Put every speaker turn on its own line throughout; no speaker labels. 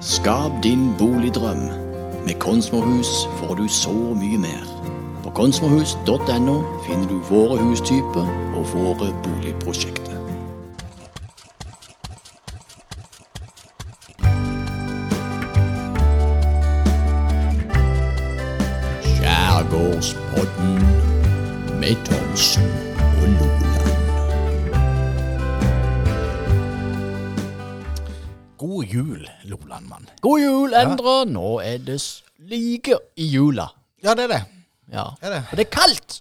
Skap din boligdrøm. Med Konsmohus får du så mye mer. På konsmohus.no finner du våre hustyper og våre boligprosjekter. Skjærgårdspodden med Thomsen og Loland.
God jul, Lolandmann.
God jul, Endre! Nå er det like i jula.
Ja, det er det.
Ja.
Er det?
Og det er kaldt!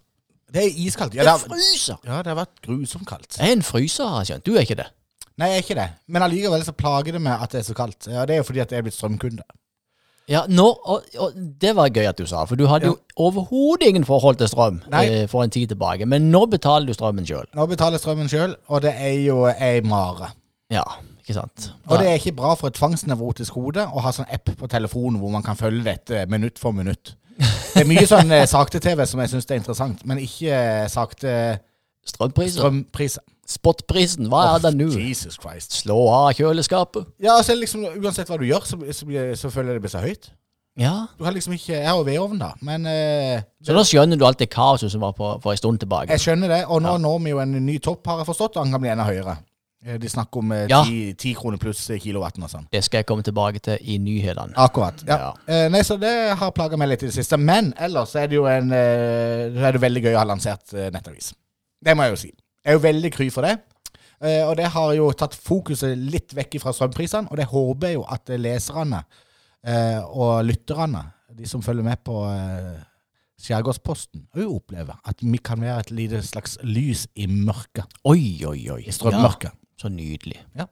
Det er iskaldt. Ja, det
Det
har,
fryser!
ja, det har vært grusomt kaldt.
Jeg er en fryser, har jeg skjønt. Du er ikke det.
Nei, jeg er ikke det. Men allikevel så plager det meg at det er så kaldt. Ja, Det er jo fordi at jeg er blitt strømkunde.
Ja, nå, og, og Det var gøy at du sa, for du hadde jo overhodet ingen forhold til strøm
Nei.
eh, for en tid tilbake. Men nå betaler du strømmen sjøl.
Nå betaler jeg strømmen sjøl, og det er jo ei mare.
Ja, ikke sant?
Og det er ikke bra for et tvangsnevrotisk hode å ha sånn app på telefonen hvor man kan følge dette minutt for minutt. Det er mye sånn eh, sakte-TV som jeg syns er interessant, men ikke eh, sakte
Strømpriser.
strømpriser.
Spotprisen, hva er det nå?
Jesus Christ.
Slå av kjøleskapet.
Ja, altså liksom Uansett hva du gjør, så, så, blir- så føler jeg det blir så høyt.
Ja.
Du kan liksom ikke Jeg har jo vedovn, da, men eh,
Så da skjønner du alt det kaoset som var på, for en stund tilbake.
jeg skjønner det. Og nå når vi jo en ny topp, har jeg forstått, og han kan bli enda høyere. Eh, De snakker om eh,
Ja.
ti, ti kroner pluss eh, kilowatten og sånn.
Det skal jeg komme tilbake til i nyhetene.
Akkurat. Ja.
Ja.
Eh, nei, så det har plaga meg litt i det siste. Men ellers er det jo en eh, Det er det veldig gøy å ha lansert eh, nettavis. Det må jeg jo si. Jeg er jo veldig kry for det. Eh, og det har jo tatt fokuset litt vekk fra strømprisene, og det håper jeg jo at eh, leserne eh, og lytterne, de som følger med på eh, Skjærgårdsposten, òg opplever at vi kan være et lite slags lys i mørket.
Oi, oi, oi.
I strømmørket.
Ja, så nydelig.
Ja.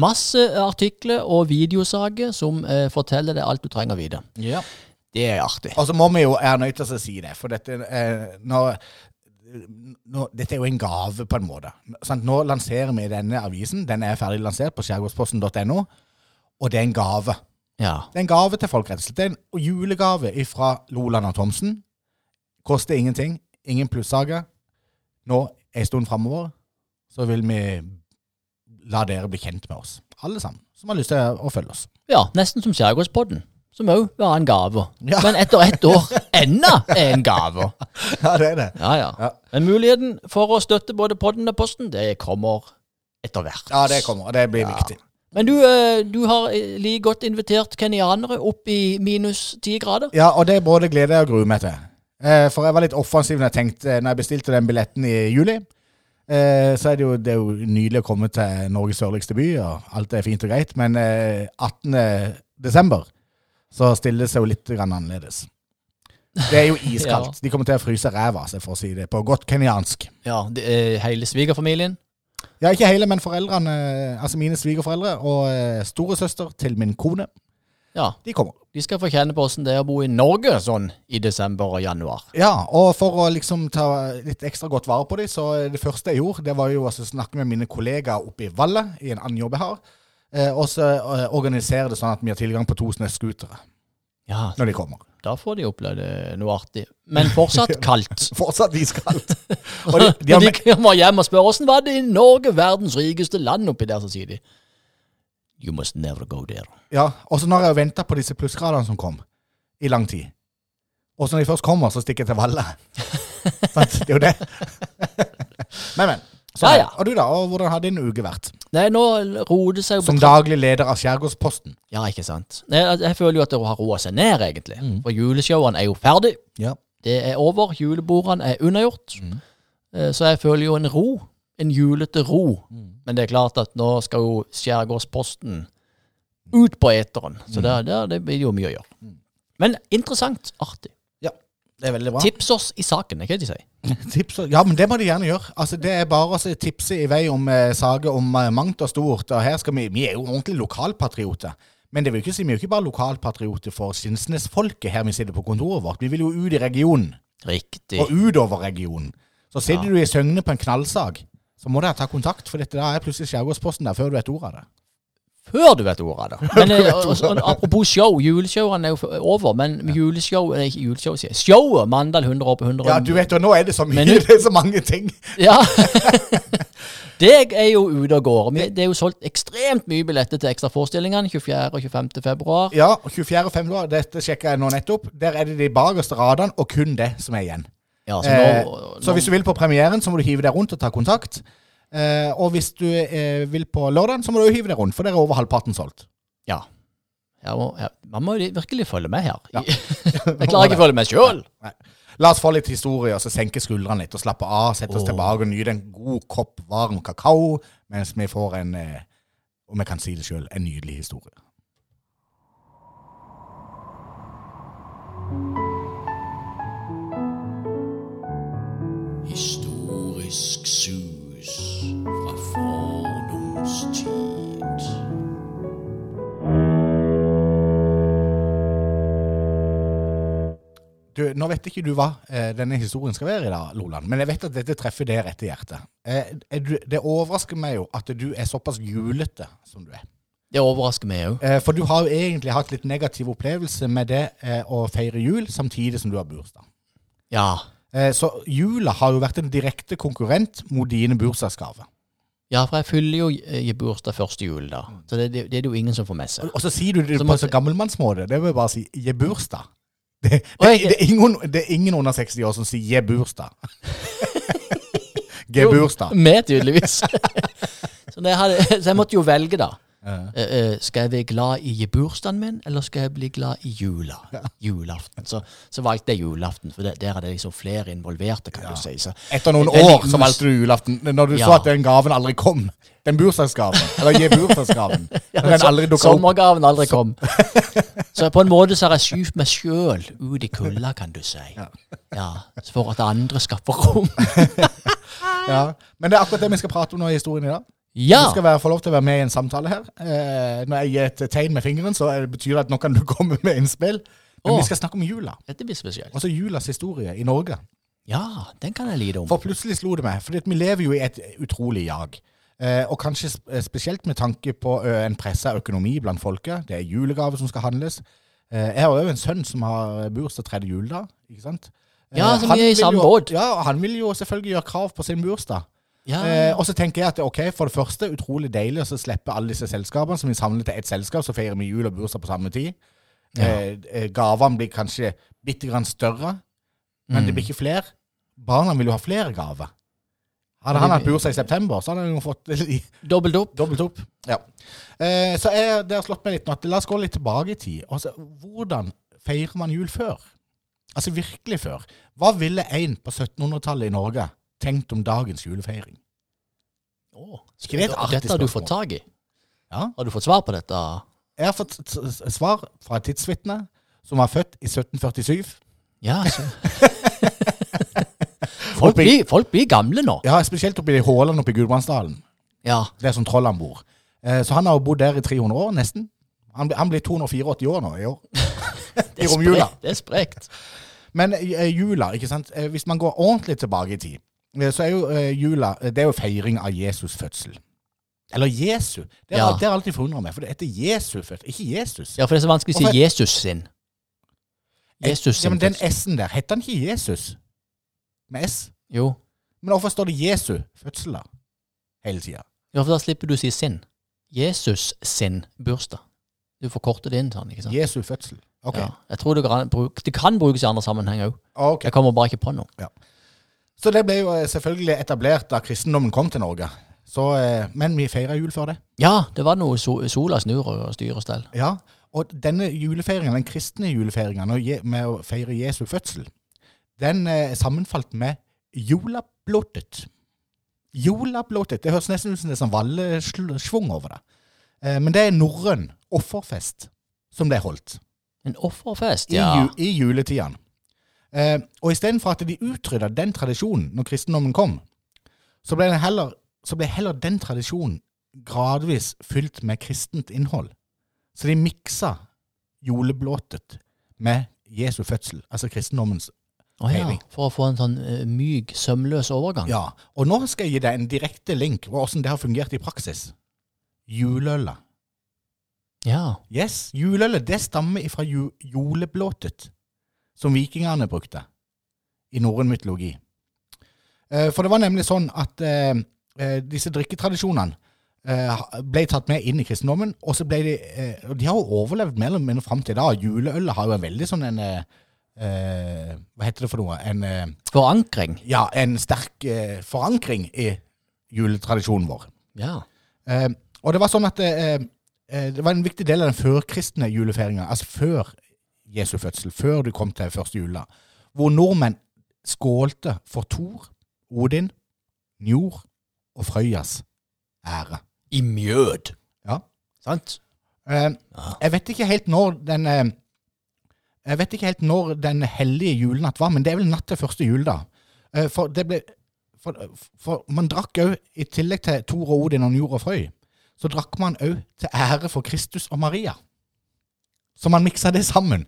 Masse artikler og videosaker som eh, forteller deg alt du trenger å vite.
Ja.
Det er artig.
Og så Altså, må vi jo Jeg er nødt til å si det, for dette eh, nå, nå, Dette er jo en gave, på en måte. Sant? Nå lanserer vi denne avisen. Den er ferdig lansert på skjærgårdsposten.no, og det er en gave.
Ja.
Det er en gave til folk, rett og slett. Det er en julegave fra Loland og Thomsen. Koster ingenting. Ingen plussager. Nå en stund framover så vil vi la dere bli kjent med oss, alle sammen, som har lyst til å følge oss.
Ja, nesten som Skjærgårdspodden, som òg var en gave.
Ja.
Men etter ett år enda er en gave.
Ja, det er det.
Ja, ja,
Ja.
Men muligheten for å støtte både podden og posten, det kommer etter hvert.
Ja, det kommer, og det blir viktig.
Men du, eh, du har eh, like godt invitert kenyanere opp i minus ti grader.
Ja, og det både gleder jeg og gruer meg til. Eh, for jeg var litt offensiv når jeg tenkte eh, Når jeg bestilte den billetten i juli. Eh, så er det, jo, det er jo nydelig å komme til Norges sørligste by, og alt er fint og greit. Men eh, 18. desember så stiller det seg jo litt grann annerledes. Det er jo iskaldt. De kommer til å fryse ræva av seg, for å si det på godt kenyansk.
Ja, det er hele svigerfamilien.
Ja, ikke hele, men foreldrene, altså mine svigerforeldre og eh, storesøster til min kone,
Ja,
de kommer.
De skal få kjenne på åssen det er å bo i Norge sånn i desember og januar.
Ja, og for å liksom ta litt ekstra godt vare på dem, så det første jeg gjorde, det var jo å snakke med mine kollegaer oppe i Valle, i en annen jobb jeg har, eh, og så eh, organisere det sånn at vi har tilgang på to snøskutere
Ja,
når de kommer.
Da får de oppleve det noe artig. Men fortsatt kaldt.
Fortsatt iskaldt. Og de, de
Og
har
de
me-
kommer hjem og spør åssen var det i Norge, verdens rikeste land, oppi der, så sier de You must never go there.
ja, og så nå har jeg jo venta på disse plussgradene som kom, i lang tid. Og så når de først kommer, så stikker jeg til Valle. Sant? Det er jo det. men, men. Sånn.
Ja, ja.
Og du da, og hvordan har din uke vært?
Nei, nå roer det seg jo
Som daglig leder av Skjærgårdsposten.
Ja, ikke sant. Nei, al- jeg føler jo at det har roa seg ned, egentlig.
Mm.
For juleshowene er jo ferdig.
Ja.
Det er over. Julebordene er unnagjort. Eh, Så jeg føler jo en ro. En julete ro. Men det er klart at nå skal jo Skjærgårdsposten ut på eteren. Så der, der, det blir jo mye å gjøre. Men interessant. Artig.
Ja, det er veldig bra.
Tips oss i saken, er ikke det de sier?
Tips, og- ja, men det må de gjerne gjøre. Altså, det er bare å se tipse i vei om eh, saker om eh, mangt og stort. Og her skal vi, vi er jo ordentlig lokalpatrioter. Men det vil jo ikke si, vi er jo ikke bare lokalpatrioter for Skinsnes-folket her vi sitter på kontoret vårt. Vi vil jo ut i regionen,
Riktig.
og utover regionen. Så sitter du i Søgne på en knallsak, så må dere ta kontakt, for dette der er plutselig Skjærgårdsposten der før du vet ordet av det.
før du vet ordet av det. Men, eh, og, og, og, apropos show, juleshowene er jo f- over, men juleshow Nei, ikke juleshow, sier jeg. Showet Mandal 100 år på 100
Ja, du vet jo, nå er det så mye,
Men du-
det er så mange ting.
Ja. Det er jo ute og går. Vi- Det er jo solgt ekstremt mye billetter til ekstraforestillingene 24. og 25. februar.
Ja, og 24. februar, dette sjekka jeg nå nettopp, der er det de bakerste radene og kun det som er igjen.
Ja, så,
Eh,
Altså, nå,
så
nå,
hvis du vil på premieren, så må du hive deg rundt og ta kontakt. Eh, og hvis du eh, vil på lørdagen, så må du jo hive deg rundt, for der er over halvparten solgt.
ja. Her må, her, man må virkelig følge med her.
Ja.
Jeg klarer ikke å følge med sjøl.
Nei. La oss få litt historie, og så senke skuldrene litt og slappe av. Sette oss
Åh.
tilbake og nyte en god kopp varm kakao mens vi får en, eh, om jeg kan si det sjøl, en nydelig historie.
Historisk sus fra fordums tid.
Du, nå vet ikke du hva eh, denne historien skal være i dag, Loland, men jeg vet at dette treffer deg rett i hjertet. Eh, er du, det overrasker meg jo at du er såpass julete som du er.
Det overrasker meg òg.
Eh, for du har jo egentlig hatt litt negativ opplevelse med det eh, å feire jul samtidig som du har bursdag.
Ja.
Eh, så jula har jo vært en direkte konkurrent mot dine bursdagsgaver.
ja, for jeg fyller jo i bursdag første jul, da. Så det, det, det er det jo ingen som får med seg.
Og så sier du det
Så
på
måtte-
så gammelmannsmåte. Det vil jeg bare si je bursdag. Det, det,
Oi,
det, er ingen, det er ingen under 60 år som sier je bursdag. Ge bursdag.
Med, tydeligvis. så, når jeg hadde, så jeg måtte jo velge, da. Eh, eh, skal jeg være glad i bursdagen min, eller skal jeg bli glad i jula? Julaften. Så, så valgte jeg julaften, for det, der er det liksom flere involverte, kan du si. Så,
Etter noen
Det er
år
litt
så
us-
valgte du julaften. Når du
Ja.
så at den gaven aldri kom. Den bursdagsgaven. Eller je bursdagsgaven. Når den aldri dukka opp.
sommergaven aldri kom. så på en måte så har jeg skyvd meg sjøl ut i kulda, kan du si. Ja. så for at andre skal få rom.
Ja. Men det er akkurat det vi skal prate om nå i historien i dag.
ja!
Du skal være, få lov til å være med i en samtale her. Eh, når jeg gir et tegn med fingeren, så eh, betyr det at nå kan du komme med innspill. Men
Åh.
vi skal snakke om jula.
Dette blir spesielt.
Også julas historie i Norge.
Ja, den kan jeg lide om.
For plutselig slo det meg, fordi at vi lever jo i et utrolig jag. Eh, og kanskje sp- eh, spesielt med tanke på eh, en pressa økonomi blant folket. Det er julegaver som skal handles. Eh, jeg har òg en sønn som har bursdag tredje juledag. ikke sant? Eh,
Ja, så vi
han
er i
vil
samme
jo-
båt.
Ja, og han vil jo selvfølgelig gjøre krav på sin bursdag.
Ja,
Eh, og så tenker jeg at ok, for det første, utrolig deilig å så slippe alle disse selskapene som vi samler til ett selskap, så feirer vi jul og bursdag på samme tid. Eh, eh, gavene blir kanskje bitte grann større, men
Mm.
det blir ikke flere. Barna vil jo ha flere gaver. Hadde han hatt bursdag i september, så hadde han jo fått i-
Dobbelt opp.
dobbelt opp. Ja. Eh, så jeg, det har slått meg litt nå at la oss gå litt tilbake i tid. Altså, hvordan feirer man jul før? Altså virkelig før. Hva ville en på 1700-tallet i Norge tenkt om dagens julefeiring?
Åh,
Ikke det et artig
dette har du
spørsmål?
fått tak i.
Ja.
Har du fått svar på dette?
Jeg har fått s- s- svar fra et tidsvitne som var født i 1747.
Ja, så. folk, blir, folk blir gamle nå.
Ja, Spesielt oppe i Håland oppe i Gudbrandsdalen,
Ja.
der som trollene bor. Eh, Så han har jo bodd der i 300 år, nesten. Han, blir- han blir 284 år nå i år. I
Det er
romjula.
sprekt. Det er sprekt.
Men eh, jula, ikke sant? Eh, hvis man går ordentlig tilbake i tid, eh, så er jo eh, jula eh, det er jo feiring av Jesus fødsel. Eller Jesu. Det har
Ja.
det har alltid forundret meg, for det heter Jesu fødsel, ikke Jesus.
Ja, for det er så vanskelig å
Hvorfor-
si Jesus sin. Jesus
ja,
sin.
men den
fødsel.
S-en der, heter han ikke Jesus? Med S?
jo.
Men hvorfor står det Jesu fødsel da? Hele tida.
Ja, for da slipper du å si sin. Jesus sin bursdag. Du forkorter det inn sånn, ikke sant?
Jesu fødsel. Ok.
Ja. Jeg tror det kan, bruk- det kan brukes i andre sammenhenger òg.
Ok.
Jeg kommer bare ikke på noe.
Så det ble jo eh, selvfølgelig etablert da kristendommen kom til Norge. Så, eh, men vi feira jul før det.
Ja, det var noe so sola snur og styr og stell.
Ja, Og denne julefeiringen, den kristne julefeiringa med å feire Jesu fødsel, den eh, sammenfalt med jolablåtet. Jolablåtet. Det høres nesten ut som det er sånn vallesvung over det. Eh, men det er norrøn offerfest som ble holdt.
En offerfest,
i,
ja.
ju, i juletiden. Eh, og istedenfor at de utrydda den tradisjonen når kristendommen kom, så ble, den heller, så ble heller den tradisjonen gradvis fylt med kristent innhold. Så de miksa juleblåtet med Jesu fødsel, altså kristendommens
Å ja.
Feiring.
For å få en sånn eh, myk, sømløs overgang.
Ja, og nå skal jeg gi deg en direkte link på hvordan det har fungert i praksis. Juleøla
Ja.
Yes, Juleølet det stammer fra ju juleblåtet, som vikingene brukte i norrøn mytologi. Eh, For det var nemlig sånn at eh, eh, disse drikketradisjonene eh, ha- ble tatt med inn i kristendommen, og så ble de eh, Og de har jo overlevd mer eller mindre fram til i dag. Juleølet har jo en veldig sånn en eh, eh, Hva heter det for noe? En, eh,
Forankring.
ja, en sterk eh, forankring i juletradisjonen vår.
Ja.
Eh, og det var sånn at eh, eh, det var en viktig del av den førkristne julefeiringa, altså før Jesu fødsel, før du kom til første jula, hvor nordmenn skålte for Thor, Odin, Njord og Frøyas ære.
I mjød.
Ja.
Sant?
Eh,
Ja.
jeg vet ikke helt når den eh, Jeg vet ikke helt når den hellige julenatt var, men det er vel natt til første jul, da. Eh, for det ble for, for man drakk òg, i tillegg til Tor og Odin og Njord og Frøy, så drakk man òg til ære for Kristus og Maria. Så man miksa det sammen.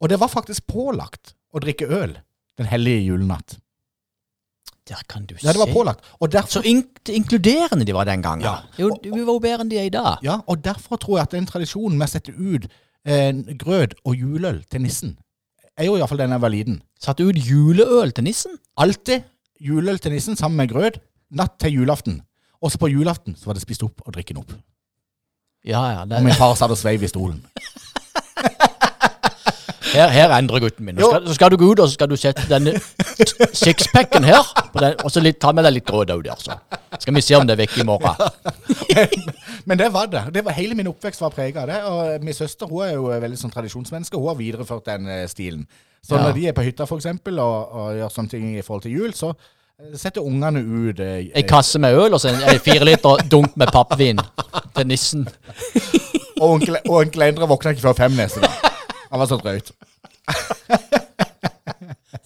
Og det var faktisk pålagt å drikke øl den hellige julenatt.
Der kan du se.
Ja, det var pålagt. Og derfor
Så ink inkluderende de var den gangen.
Ja.
Jo, de var jo bedre enn de er i dag.
Ja, og derfor tror jeg at den tradisjonen med å sette ut eh, grød og juleøl til nissen, jeg gjorde iallfall den da jeg var liten.
Satte ut juleøl til nissen.
Alltid juleøl til nissen sammen med grød natt til julaften. Også på julaften så var det spist opp og drikken opp.
Ja, ja.
Og
Det,
min far satt og sveiv i stolen.
her, her endrer gutten min. Nå
Jo.
Skal, så skal du gå ut, og så skal du sette denne t- sixpacken her. på den, Og så litt, ta med deg litt grøt òg der, så. Skal vi se om det er vekk i morgen.
Men det var det. det var, hele min oppvekst var prega av det. Og min søster hun er jo veldig sånn tradisjonsmenneske. Hun har videreført den eh, stilen. Så
Ja.
når de er på hytta for eksempel, og, og gjør sånne ting i forhold til jul, så eh, setter ungene ut eh,
Ei kasse med øl og så en, en fire liter dunk med pappvin til nissen.
Og onkel, og onkel Endre våkna ikke før fem neste dag. Han var så drøyt.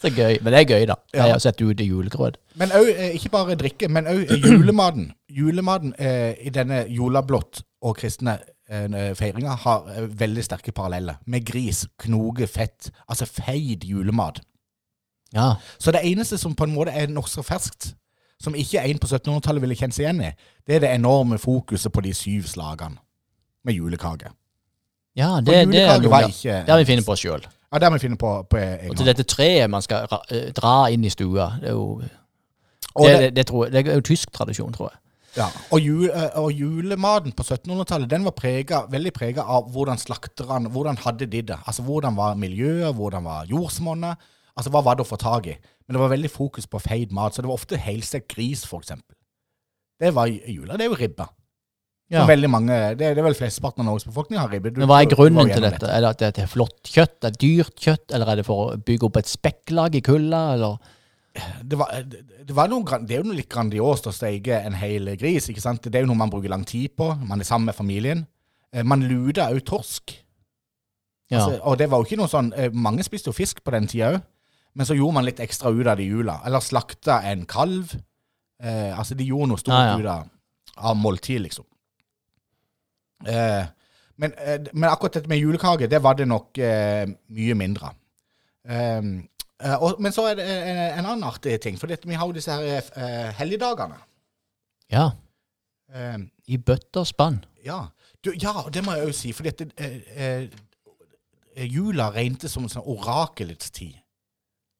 Så gøy. Men det er gøy, da. Jeg har sett ut i julegrøt.
Men òg, ikke bare drikke, men òg julematen. Julematen eh, i denne jolablått og kristne eh, feiringa har eh, veldig sterke paralleller. Med gris, knoge, fett. Altså feid julemat.
Ja.
Så det eneste som på en måte er norsk og ferskt, som ikke en på 1700-tallet ville kjent seg igjen i, det er det enorme fokuset på de syv slagene med julekake.
ja det,
For
det er
julekake
noe
var
der.
ikke
Det har vi funnet på sjøl.
Ja, det må vi finne på på egen
Og
hånd.
til dette treet man skal ra- eh, dra inn i stua. Det er jo
Og
det,
det-
det, det, tror jeg, det er jo tysk tradisjon, tror jeg.
Ja, og, ju- eh, og julematen på 1700-tallet den var preget, veldig prega av hvordan slakterne hvordan hadde de det. Altså Hvordan var miljøet, hvordan var jordsmonnet? Altså Hva var det å få tak i? Men det var veldig fokus på feid mat, så det var ofte helstekt gris, for eksempel. Det var i- i jula. Det er jo ribbe. Som Veldig mange, det, det er vel flesteparten av Norges befolkning har ribbe. Du-
Men hva er
du- du går
grunnen til
gjennom
dette? Er det at det er flott kjøtt? Er det dyrt kjøtt? Eller er det for å bygge opp et spekklag i kulda? Eller?
det var, det, det, var noe, gran- det er jo noe litt grandiost å steke en hel gris. ikke sant? Det er jo noe man bruker lang tid på. Man er sammen med familien. Eh, Man luda òg torsk.
Ja.
Altså, og det var jo ikke noe sånn eh, Mange spiste jo fisk på den tida òg, men så gjorde man litt ekstra ut av det i jula. Eller slakta en kalv. Eh, altså, de gjorde noe stort
Ja, ja.
ut av, av måltid, liksom. Eh, men, eh, men akkurat dette med julekake, det var det nok eh, mye mindre av. Ehm, eh, og, men så er det en, en annen artig ting. For dette, vi har jo disse her eh, helligdagene.
ja.
Ehm,
I bøtter og spann.
ja. Du, ja, det må jeg jo si, for dette, eh, eh, jula regnet som en sånn orakelets tid.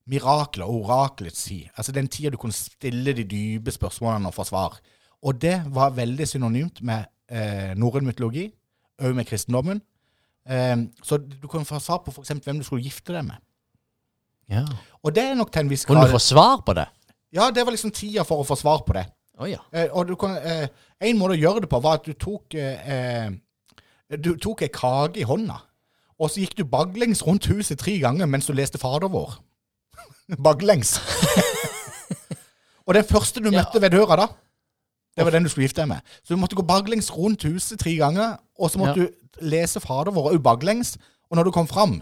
Mirakler, orakelets tid. Altså den tida du kunne stille de dype spørsmålene og få svar. Og det var veldig synonymt med eh, norrøn mytologi, òg med kristendommen. Eh, så du kunne få svar på for eksempel hvem du skulle gifte deg med.
Ja.
Og det er nok til en viss
Kunne
grad
du få svar på det?
Ja, det var liksom tida for å få svar på det.
Å ja.
Eh, og du kan, eh, en måte å gjøre det på var at du tok eh, eh, Du tok ei kake i hånda, og så gikk du baklengs rundt huset tre ganger mens du leste Fader vår. baklengs. og den første du møtte ved døra da, det var den du skulle gifte deg med. Så du måtte gå baklengs rundt huset tre ganger, og så måtte
Ja.
du lese Fader vår òg baklengs. Og når du kom fram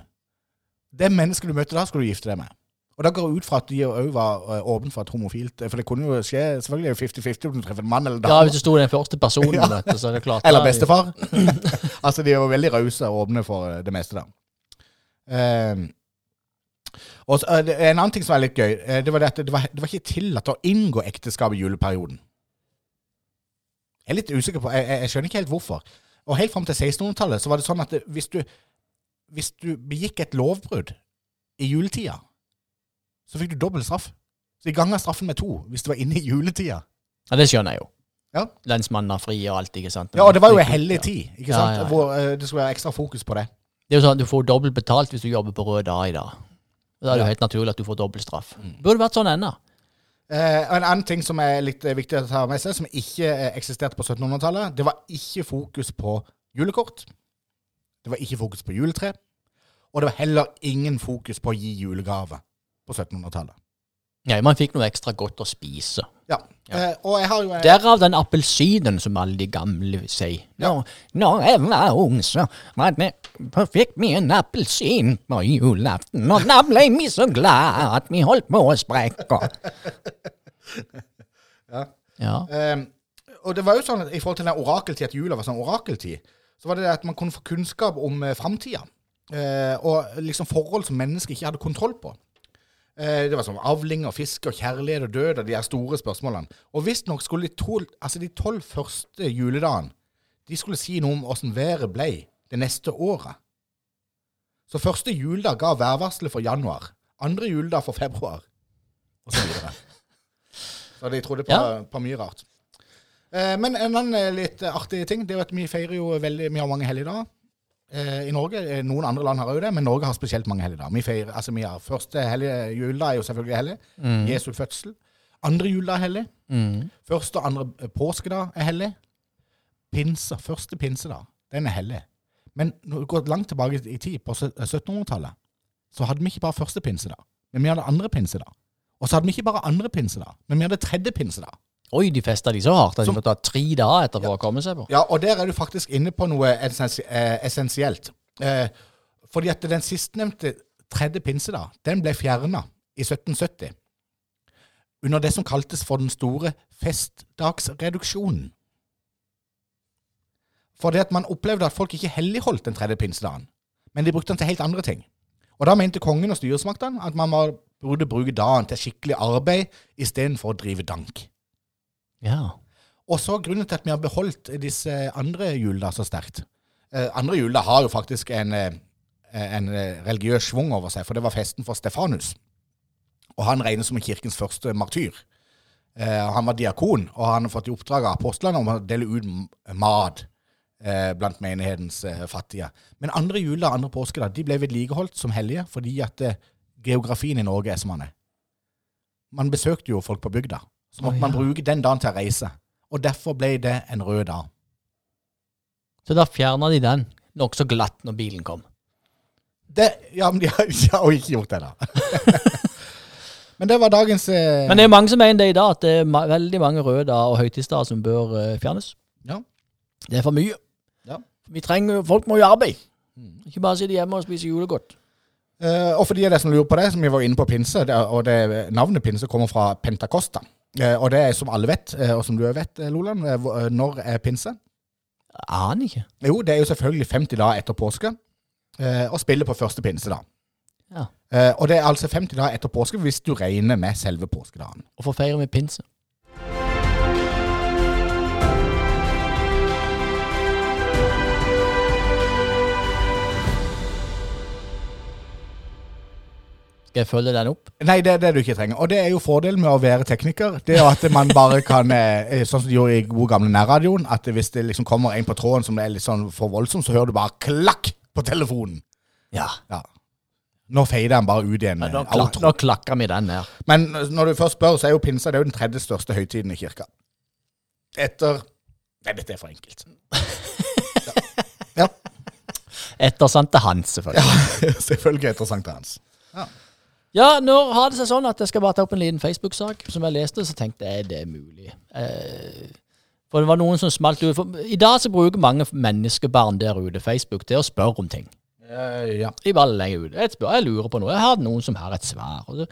Det mennesket du møtte da, skulle du gifte deg med. Og da går jeg ut fra at de òg var eh, åpne for et homofilt eh, For det kunne jo skje Selvfølgelig er det 50-50 om du treffer en mann eller en
ja
dame.
hvis det sto den første personen
Ja.
dette, så er det klart
Eller
da-
bestefar. altså, de er jo veldig rause og åpne for eh, det meste, da. Ehm, og så, eh, det- en annen ting som er litt gøy, eh, det var det at det var, det var ikke tillatt å inngå ekteskap i juleperioden. Jeg er litt usikker på Jeg, jeg, jeg skjønner ikke helt hvorfor. Og helt fram til 1600-tallet så var det sånn at det, hvis, du, hvis du begikk et lovbrudd i juletida, så fikk du dobbel straff. Så de ganga straffen med to hvis du var inne i juletida.
Ja, det skjønner jeg jo.
Ja.
Lensmannen har fri og alt, ikke sant.
Ja, og det var jo ei hellig tid, ikke
Ja,
sant?
ja, ja.
Hvor eh, det skulle være ekstra fokus på det.
Det er jo sånn at du får dobbelt betalt hvis du jobber på rød dag i dag. Da
Ja.
er det
Mm.
jo helt naturlig at du får dobbelt straff. Burde vært sånn ennå.
Eh, og en annen ting som er litt eh, viktig å ta med seg, som ikke eh, eksisterte på 1700-tallet, det var ikke fokus på julekort. Det var ikke fokus på juletre. Og det var heller ingen fokus på å gi julegave på 1700-tallet.
Nei, man fikk noe ekstra godt å spise.
Ja.
Ja.
Eh, og jeg har jo eh,
Derav den appelsinen som alle de gamle sier. Ja. Når jeg var ung, så var det så fikk vi en appelsin på julaften, og da ble vi så glad at vi holdt på å sprekke.
Ja.
ja.
eh, Og det var jo sånn at i forhold til den orakeltid, at jula var sånn orakeltid, så var det det at man kunne få kunnskap om eh, framtida. Eh, og liksom forhold som mennesker ikke hadde kontroll på. Eh, Det var sånn avling og fiske og kjærlighet og død og de her store spørsmålene. Og visstnok skulle de tolv altså de tolv første juledagene de skulle si noe om åssen været ble det neste året. Så første juledag ga værvarselet for januar. Andre juledag for februar. Og så videre. Så de trodde på,
Ja.
på mye rart. Eh, Men en annen eh, litt eh, artig ting det er jo at vi feirer jo veldig Vi har mange helligdager eh, i Norge. Eh, Noen andre land har òg det, men Norge har spesielt mange helligdager. Vi feirer, altså vi har første hellig, juledag er jo selvfølgelig hellig. Jesu fødsel. Andre juledag er hellig.
Mm.
Første og andre eh, påskedag er hellig. Pinse, første pinsedag, den er hellig. Men når du går langt tilbake i tid, på sø- 1700-tallet, så hadde vi ikke bare første pinsedag, men vi hadde andre pinsedag. Og så hadde vi ikke bare andre pinsedag, men vi hadde tredje pinsedag.
Oi, de festa de så hardt at de
Som-
måtte ha tre dager etter for å komme seg på.
Ja, og der er du faktisk inne på noe essensi eh, essensielt. Eh, fordi at den sistnevnte tredje pinsedag, den ble fjerna i 1770. Under det som kaltes for den store festdagsreduksjonen. Fordi at man opplevde at folk ikke helligholdt den tredje pinsedagen, men de brukte den til helt andre ting. Og da mente kongen og styresmaktene at man var- burde bruke dagen til skikkelig arbeid istedenfor å drive dank.
Ja.
Og så grunnen til at vi har beholdt disse andre julene så sterkt. Eh, andre julene har jo faktisk en, eh, en eh, religiøs svung over seg, for det var festen for Stefanus. Og han regnes som kirkens første martyr. Eh, han var diakon, og han har fått i oppdrag av apostlene om å dele ut m- mat eh, blant menighetens eh, fattige. Men andre juler og andre påsker da, de ble vedlikeholdt som hellige fordi at eh, geografien i Norge er som den er. Man besøkte jo folk på bygda. Så måtte
Å,
man
ja.
bruke den dagen til å reise. Og derfor ble det en rød dag.
Så da fjerna de den nokså glatt når bilen kom.
Det, ja, men de har, de har jo ikke gjort det, da. men det var dagens eh,
Men det er mange som mener det i dag, at det er ma veldig mange røde dager og høytidsdager som bør eh, fjernes.
ja.
Det er for mye.
Ja.
Vi trenger, jo- folk må jo arbeide. Ikke bare sitte hjemme og spise julegodt.
Eh, og for de av dere som lurer på det, som vi var inne på pinse, det, og det, navnet pinse kommer fra Pentacosta. Eh, og det er som alle vet, eh, og som du vet, eh, Loland, eh, hvor- eh, når er pinse?
Aner ikke.
Jo, det er jo selvfølgelig 50 dager etter påske, eh, og spiller på første pinse da.
Ja.
Eh, og det er altså 50 dager etter påske hvis du regner med selve påskedagen.
Hvorfor feirer vi pinse? Skal jeg følge den opp?
Nei, det er det du ikke trenger. Og det er jo fordelen med å være tekniker. Det er jo at man bare kan, eh, sånn som de gjorde i god gamle nærradioen, at hvis det liksom kommer en på tråden som er litt sånn for voldsom, så hører du bare klakk på telefonen.
Ja.
Ja. Nå fader han bare ut igjen.
Nå,
med
klak,
outro.
nå klakker vi den her.
Men når du først spør, så er jo pinsa det er jo den tredje største høytiden i kirka. Etter Nei, dette er for enkelt. Ja,
Etter Sante Hans, selvfølgelig.
ja. selvfølgelig etter sankthans.
Ja, nå har det seg sånn at jeg skal bare ta opp en liten Facebook-sak som jeg leste, så tenkte jeg, er det mulig? Eh, for det var noen som smalt ut. For I dag så bruker mange menneskebarn der ute Facebook til å spørre om ting.
Eh, ja.
De bare legger ut. Jeg, spør, jeg lurer på noe. Jeg har noen som har et svar. Og så,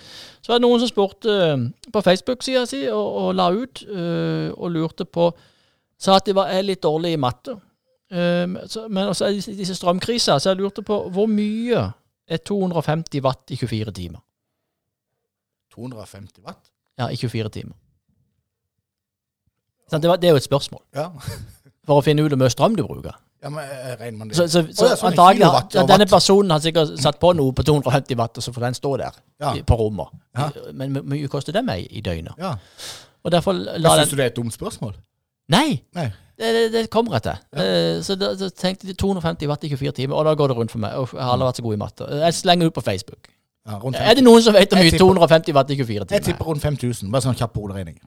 så var det noen som spurte eh, på Facebook-sida si og, og la ut eh, og lurte på Sa at de var, er litt dårlige i matte. Eh, men så, men også er disse, disse strømkriser, så jeg lurte på hvor mye er 250 watt i 24 timer?
250 watt?
Ja, i 24 timer. Sant, det, var, det er jo et spørsmål.
Ja.
For å finne ut hvor mye strøm du bruker.
Ja, men eh, regner man det
Så, så, så
Å, ja, sånn
antagelig har-
kilowatt og
denne
watt.
personen har sikkert satt på noe på 250 watt, og så får den stå der
Ja.
i- på rommet.
Ja.
Men hvor mye koster den meg i døgnet?
Ja.
Og derfor la
Syns
den
du det er et dumt spørsmål?
Nei!
Nei.
Det, det, det kommer etter. Eh, Så da så tenkte de 250 watt i 24 timer, og da går det rundt for meg. Uff, jeg har aldri vært så god i matte. Eh, Jeg slenger ut på Facebook.
Ja, rundt
Er det noen som vet om
Jeg
mye
tipper-
250 watt i 24
Jeg
timer?
tipper rundt 5000. Bare sånn kjapp hoderegning.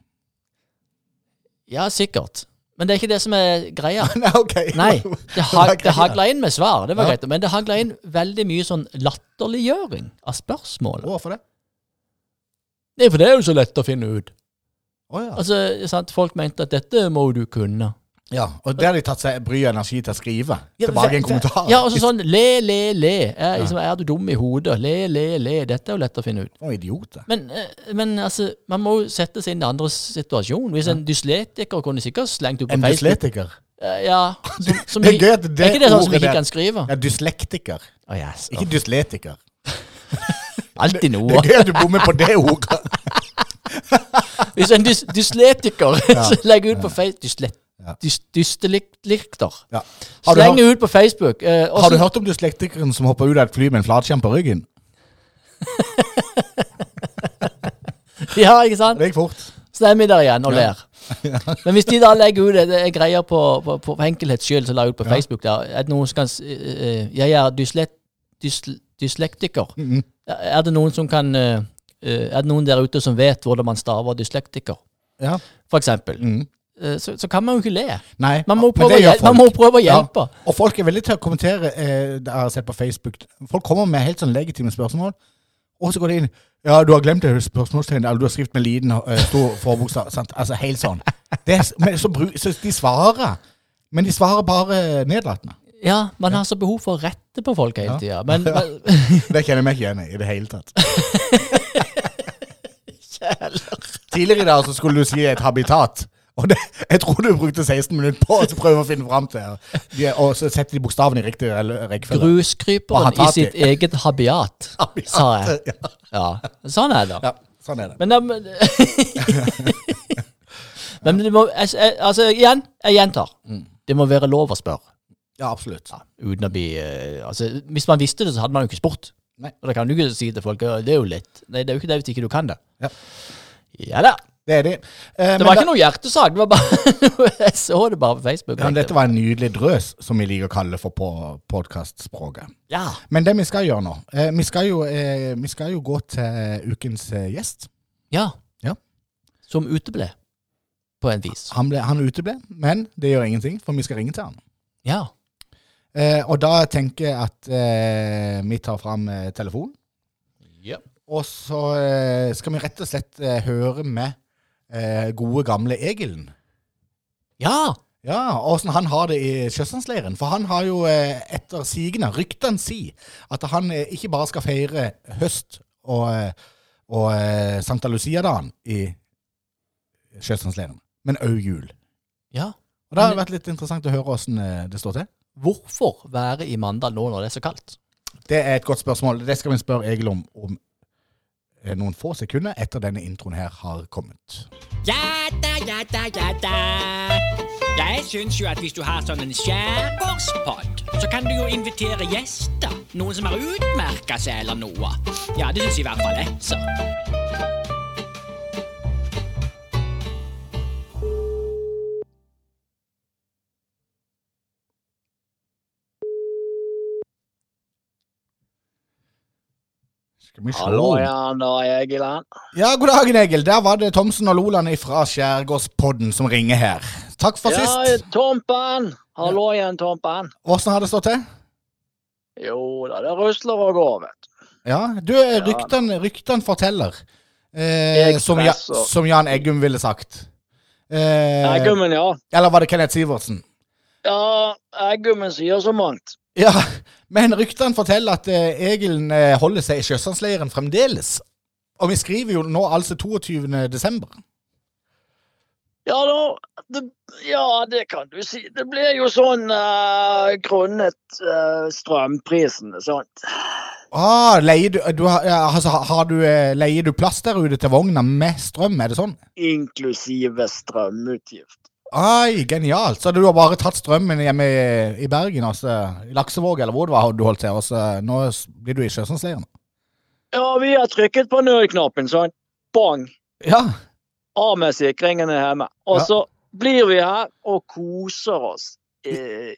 Ja, sikkert. Men det er ikke det som er greia.
Nei, ok.
Nei. Det, hag, det
greia.
hagla inn med svar, det var
Ja.
greit. Men det hagla inn veldig mye sånn latterliggjøring av spørsmål.
Hvorfor det?
Nei, for det er jo så lett å finne ut.
Å ja.
Altså, sant? Folk mente at dette må du kunne.
ja. Og der har de tatt seg bryet og energi til å skrive
Ja, altså,
tilbake en
det- det-
kommentar.
Ja, og så sånn le, le, le. Er, liksom, er du dum i hodet? Le, le, le. Dette er jo lett å finne ut.
Å, idiot. det.
Men, eh, men altså, man må jo sette seg inn i andres situasjon. Hvis en dysletiker kunne sikkert slengt ut på
En
Facebook
dyslektiker.
Eh, Ja. Som, som,
Det er gøy at det
ikke det sånn som
ordet
ikke
der-
kan skrive?
Ja, dyslektiker.
Å, yes.
Ikke dysletiker.
Alltid
Det
noe.
er gøy at du bommer på det ordet.
Hvis en dys dysletiker så legger ut på Facebook Dyslet...
Ja.
Dys dyslekter.
Ja. Har, du
Sleng
hørt,
ut på Facebook. eh, og
har du
så-
hørt om dyslektikeren som hoppa ut av et fly med en flatskjerm på ryggen?
Ja, ikke sant?
Det gikk fort.
Så er vi der igjen og ler. Men hvis de da legger ut det, det er greier på, på, på enkelhets skyld, så la ut på Facebook der Er det noen som kan s- eh, eh, Jeg er dyslet, dysl, dyslektiker.
Mm,
Er det noen som kan eh, eh, Er det noen der ute som vet hvordan man staver dyslektiker,
Ja.
for eksempel?
Mhm.
Eh, Så, så kan man jo ikke le.
Nei.
Man må
men
prøve,
det
å
gjør
hjel- man
folk.
må prøve å hjelpe.
Ja. Og folk er veldig til å kommentere. Eh, det har jeg sett på Facebook. Folk kommer med helt sånn legitime spørsmål, og så går de inn Ja, du har glemt det spørsmålstegnet. Eller du har skrevet med liten eh, stor forbokstav. sant? Altså helt sånn. Det er, s- men så, bru- så de svarer. Men de svarer bare nedlatende.
Ja. man har så behov for å rette på folk hele tida. Men
Det kjenner jeg meg ikke igjen i i det hele tatt. Tidligere i dag så skulle du si et habitat. Og det, jeg tror du brukte 16 minutter på å prøve å finne fram til det. De, og så setter de bokstavene i riktig re- rekkefølge. Og
Gruskryperen i
hatati.
sitt eget habiat, sa jeg. Ja, sånn er det.
Ja, sånn er det.
Men da Men, men det må jeg- jeg- Altså, igjen, jeg gjentar.
Mm.
Det må være lov å spørre.
Ja, absolutt.
Uten å bli eh, Altså, hvis man visste det, så hadde man jo ikke spurt.
Nei.
Og da kan du ikke si til folk «Ja, Det er jo lett. Nei, det er jo ikke det hvis ikke du kan det.
Ja.
Ja da.
Det er de. Eh,
Det var ikke noe hjertesak. Det var bare Jeg så det bare på Facebook.
men dette var en nydelig drøs, som vi liker å kalle det for på podkastspråket.
Ja.
Men det vi skal gjøre nå eh, vi, skal jo, eh, vi skal jo gå til ukens eh, gjest.
ja.
Ja.
Som uteble. På en vis.
Han, ble, han uteble, men det gjør ingenting, for vi skal ringe til han.
Ja.
Eh, og da tenker jeg at eh, vi tar fram eh, telefonen, og så eh, skal vi rett og slett eh, høre med eh, gode, gamle Egilen.
Ja!
Ja, og åssen han har det i Sjøsandsleiren. For han har jo eh, etter sigende, ryktene si, at han eh, ikke bare skal feire høst og, eh, og eh, Santa Lucia-dagen i Sjøsandsleiren, men òg jul.
ja.
Og Det har vært litt interessant å høre åssen eh, det står til.
Hvorfor være i Mandal nå når det er så kaldt?
Det er et godt spørsmål. Det skal vi spørre Egil om om eh, noen få sekunder etter denne introen her har kommet.
Ja da, ja da, ja da. Jeg syns jo at hvis du har sånn en skjærgårdspod, så kan du jo invitere gjester. Noen som har utmerka seg eller noe. Ja, det syns i hvert fall jeg, så.
Skal vi se.
Hallo, ja, da er jeg i land.
Ja, god dagen, Egil. Der var det Thomsen og Loland fra Skjærgårdspodden som ringer her. Takk for
Ja,
sist.
Tompen! Hallo igjen, Tompen.
Åssen har det stått til?
Jo da, det rusler og går, vet du.
Ja, du, eh, ryktene rykten forteller. Eh,
Jeg
som, ja,
presser.
som Jan Eggum ville sagt. Eh,
Eggummen, ja.
eller var det Kenneth Sivertsen?
Ja, Eggummen sier så mangt.
Ja, men ryktene forteller at eh, Egilen eh, holder seg i Sjøsandsleiren fremdeles. Og vi skriver jo nå altså 22. desember.
Ja da, det, ja, det kan du si. Det blir jo sånn eh, grunnet eh, strømprisene, sant.
Ah, leier du, du, har- ja, altså, har- har du, eh, leier du plass der ute til vogna med strøm, er det sånn?
Inklusive strømutgift.
Ai, genialt. Så du har bare tatt strømmen hjemme i, i Bergen, altså. I Laksevåg, eller hvor det var du holdt til. Og så nå s- blir du i Sjøsandsleiren.
Ja, vi har trykket på nødknappen, sånn. Bang!
Ja.
Av med sikringene hjemme. Og
Ja.
så blir vi her og koser oss i,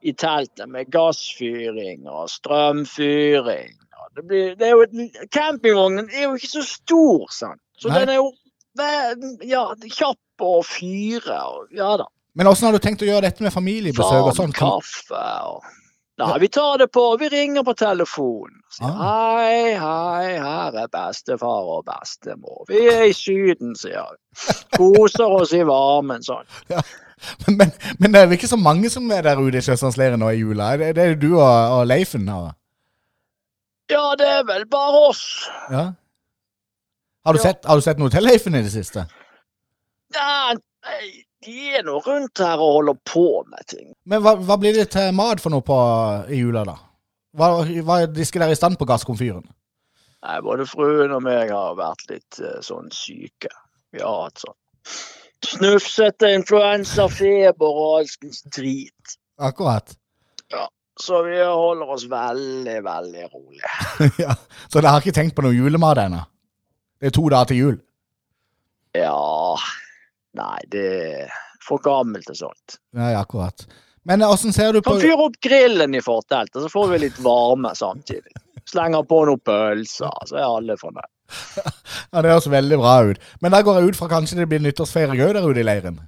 i teltet med gassfyring og strømfyring. Og Det blir, det er jo et, campingvognen er jo ikke så stor, sant. Så
Nei.
den er jo ve- ja, kjapp å fyre. Og, ja da.
Men åssen har du tenkt å gjøre dette med familiebesøk og
Varm
sånn?
kaffe og Nei, vi tar det på. Vi ringer på telefon. Sier,
Ah.
Hei, hei, her er bestefar og bestemor. Vi er i Syden, sier vi. Koser oss i varmen sånn.
Men, men det er vel ikke så mange som er der ute i Sjøsandsleiren nå i jula? Det, det er jo du og, og Leifen. Og,
Ja, det er vel bare oss.
ja. Har, du
Ja.
sett, har du sett noe til Leifen i det siste?
Ja, nei, de er nå rundt her og holder på med ting.
Men hva, hva blir det til mat for noe på, i jula, da? Hva, hva disker dere i stand på gasskomfyren?
Nei, både fruen og meg har vært litt eh, sånn syke. Vi har hatt sånn snufsete influensa, feber og alskens drit.
Akkurat.
Så vi holder oss veldig, veldig rolig.
ja. Så dere har ikke tenkt på noe julemat ennå? Det er to dager til jul.
Ja Nei, det er for gammelt til sånt.
Nei, akkurat. Men åssen ser du på
Kan fyre opp grillen i forteltet, så får vi litt varme samtidig. Slenger på noen pølser, så er alle fornøyd.
Ja, Det høres veldig bra ut. Men da går jeg ut fra kanskje det blir nyttårsfeiring òg der ute i leiren?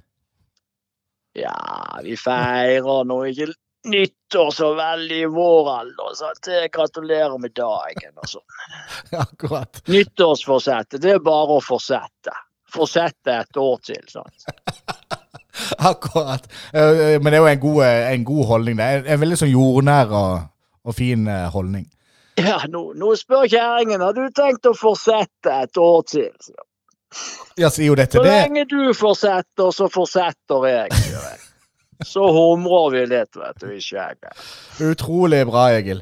Ja, vi feirer nå ikke nyttår så veldig i vår alder, så det gratulerer med dagen og sånn.
Akkurat.
Nyttårsforsettet, det er bare å fortsette. Fortsette et år til, sant.
Akkurat. Eh, eh, Men det er jo en god, eh, en god holdning. Det er en veldig sånn jordnær og, og fin eh, holdning.
Ja, nå, nå spør kjerringen, har du tenkt å fortsette et år til? sier
Ja, sier jo dette
Så
det?
lenge du fortsetter, så fortsetter jeg. sier jeg. Så humrer vi litt, vet du, i skjegget.
Utrolig bra, Egil.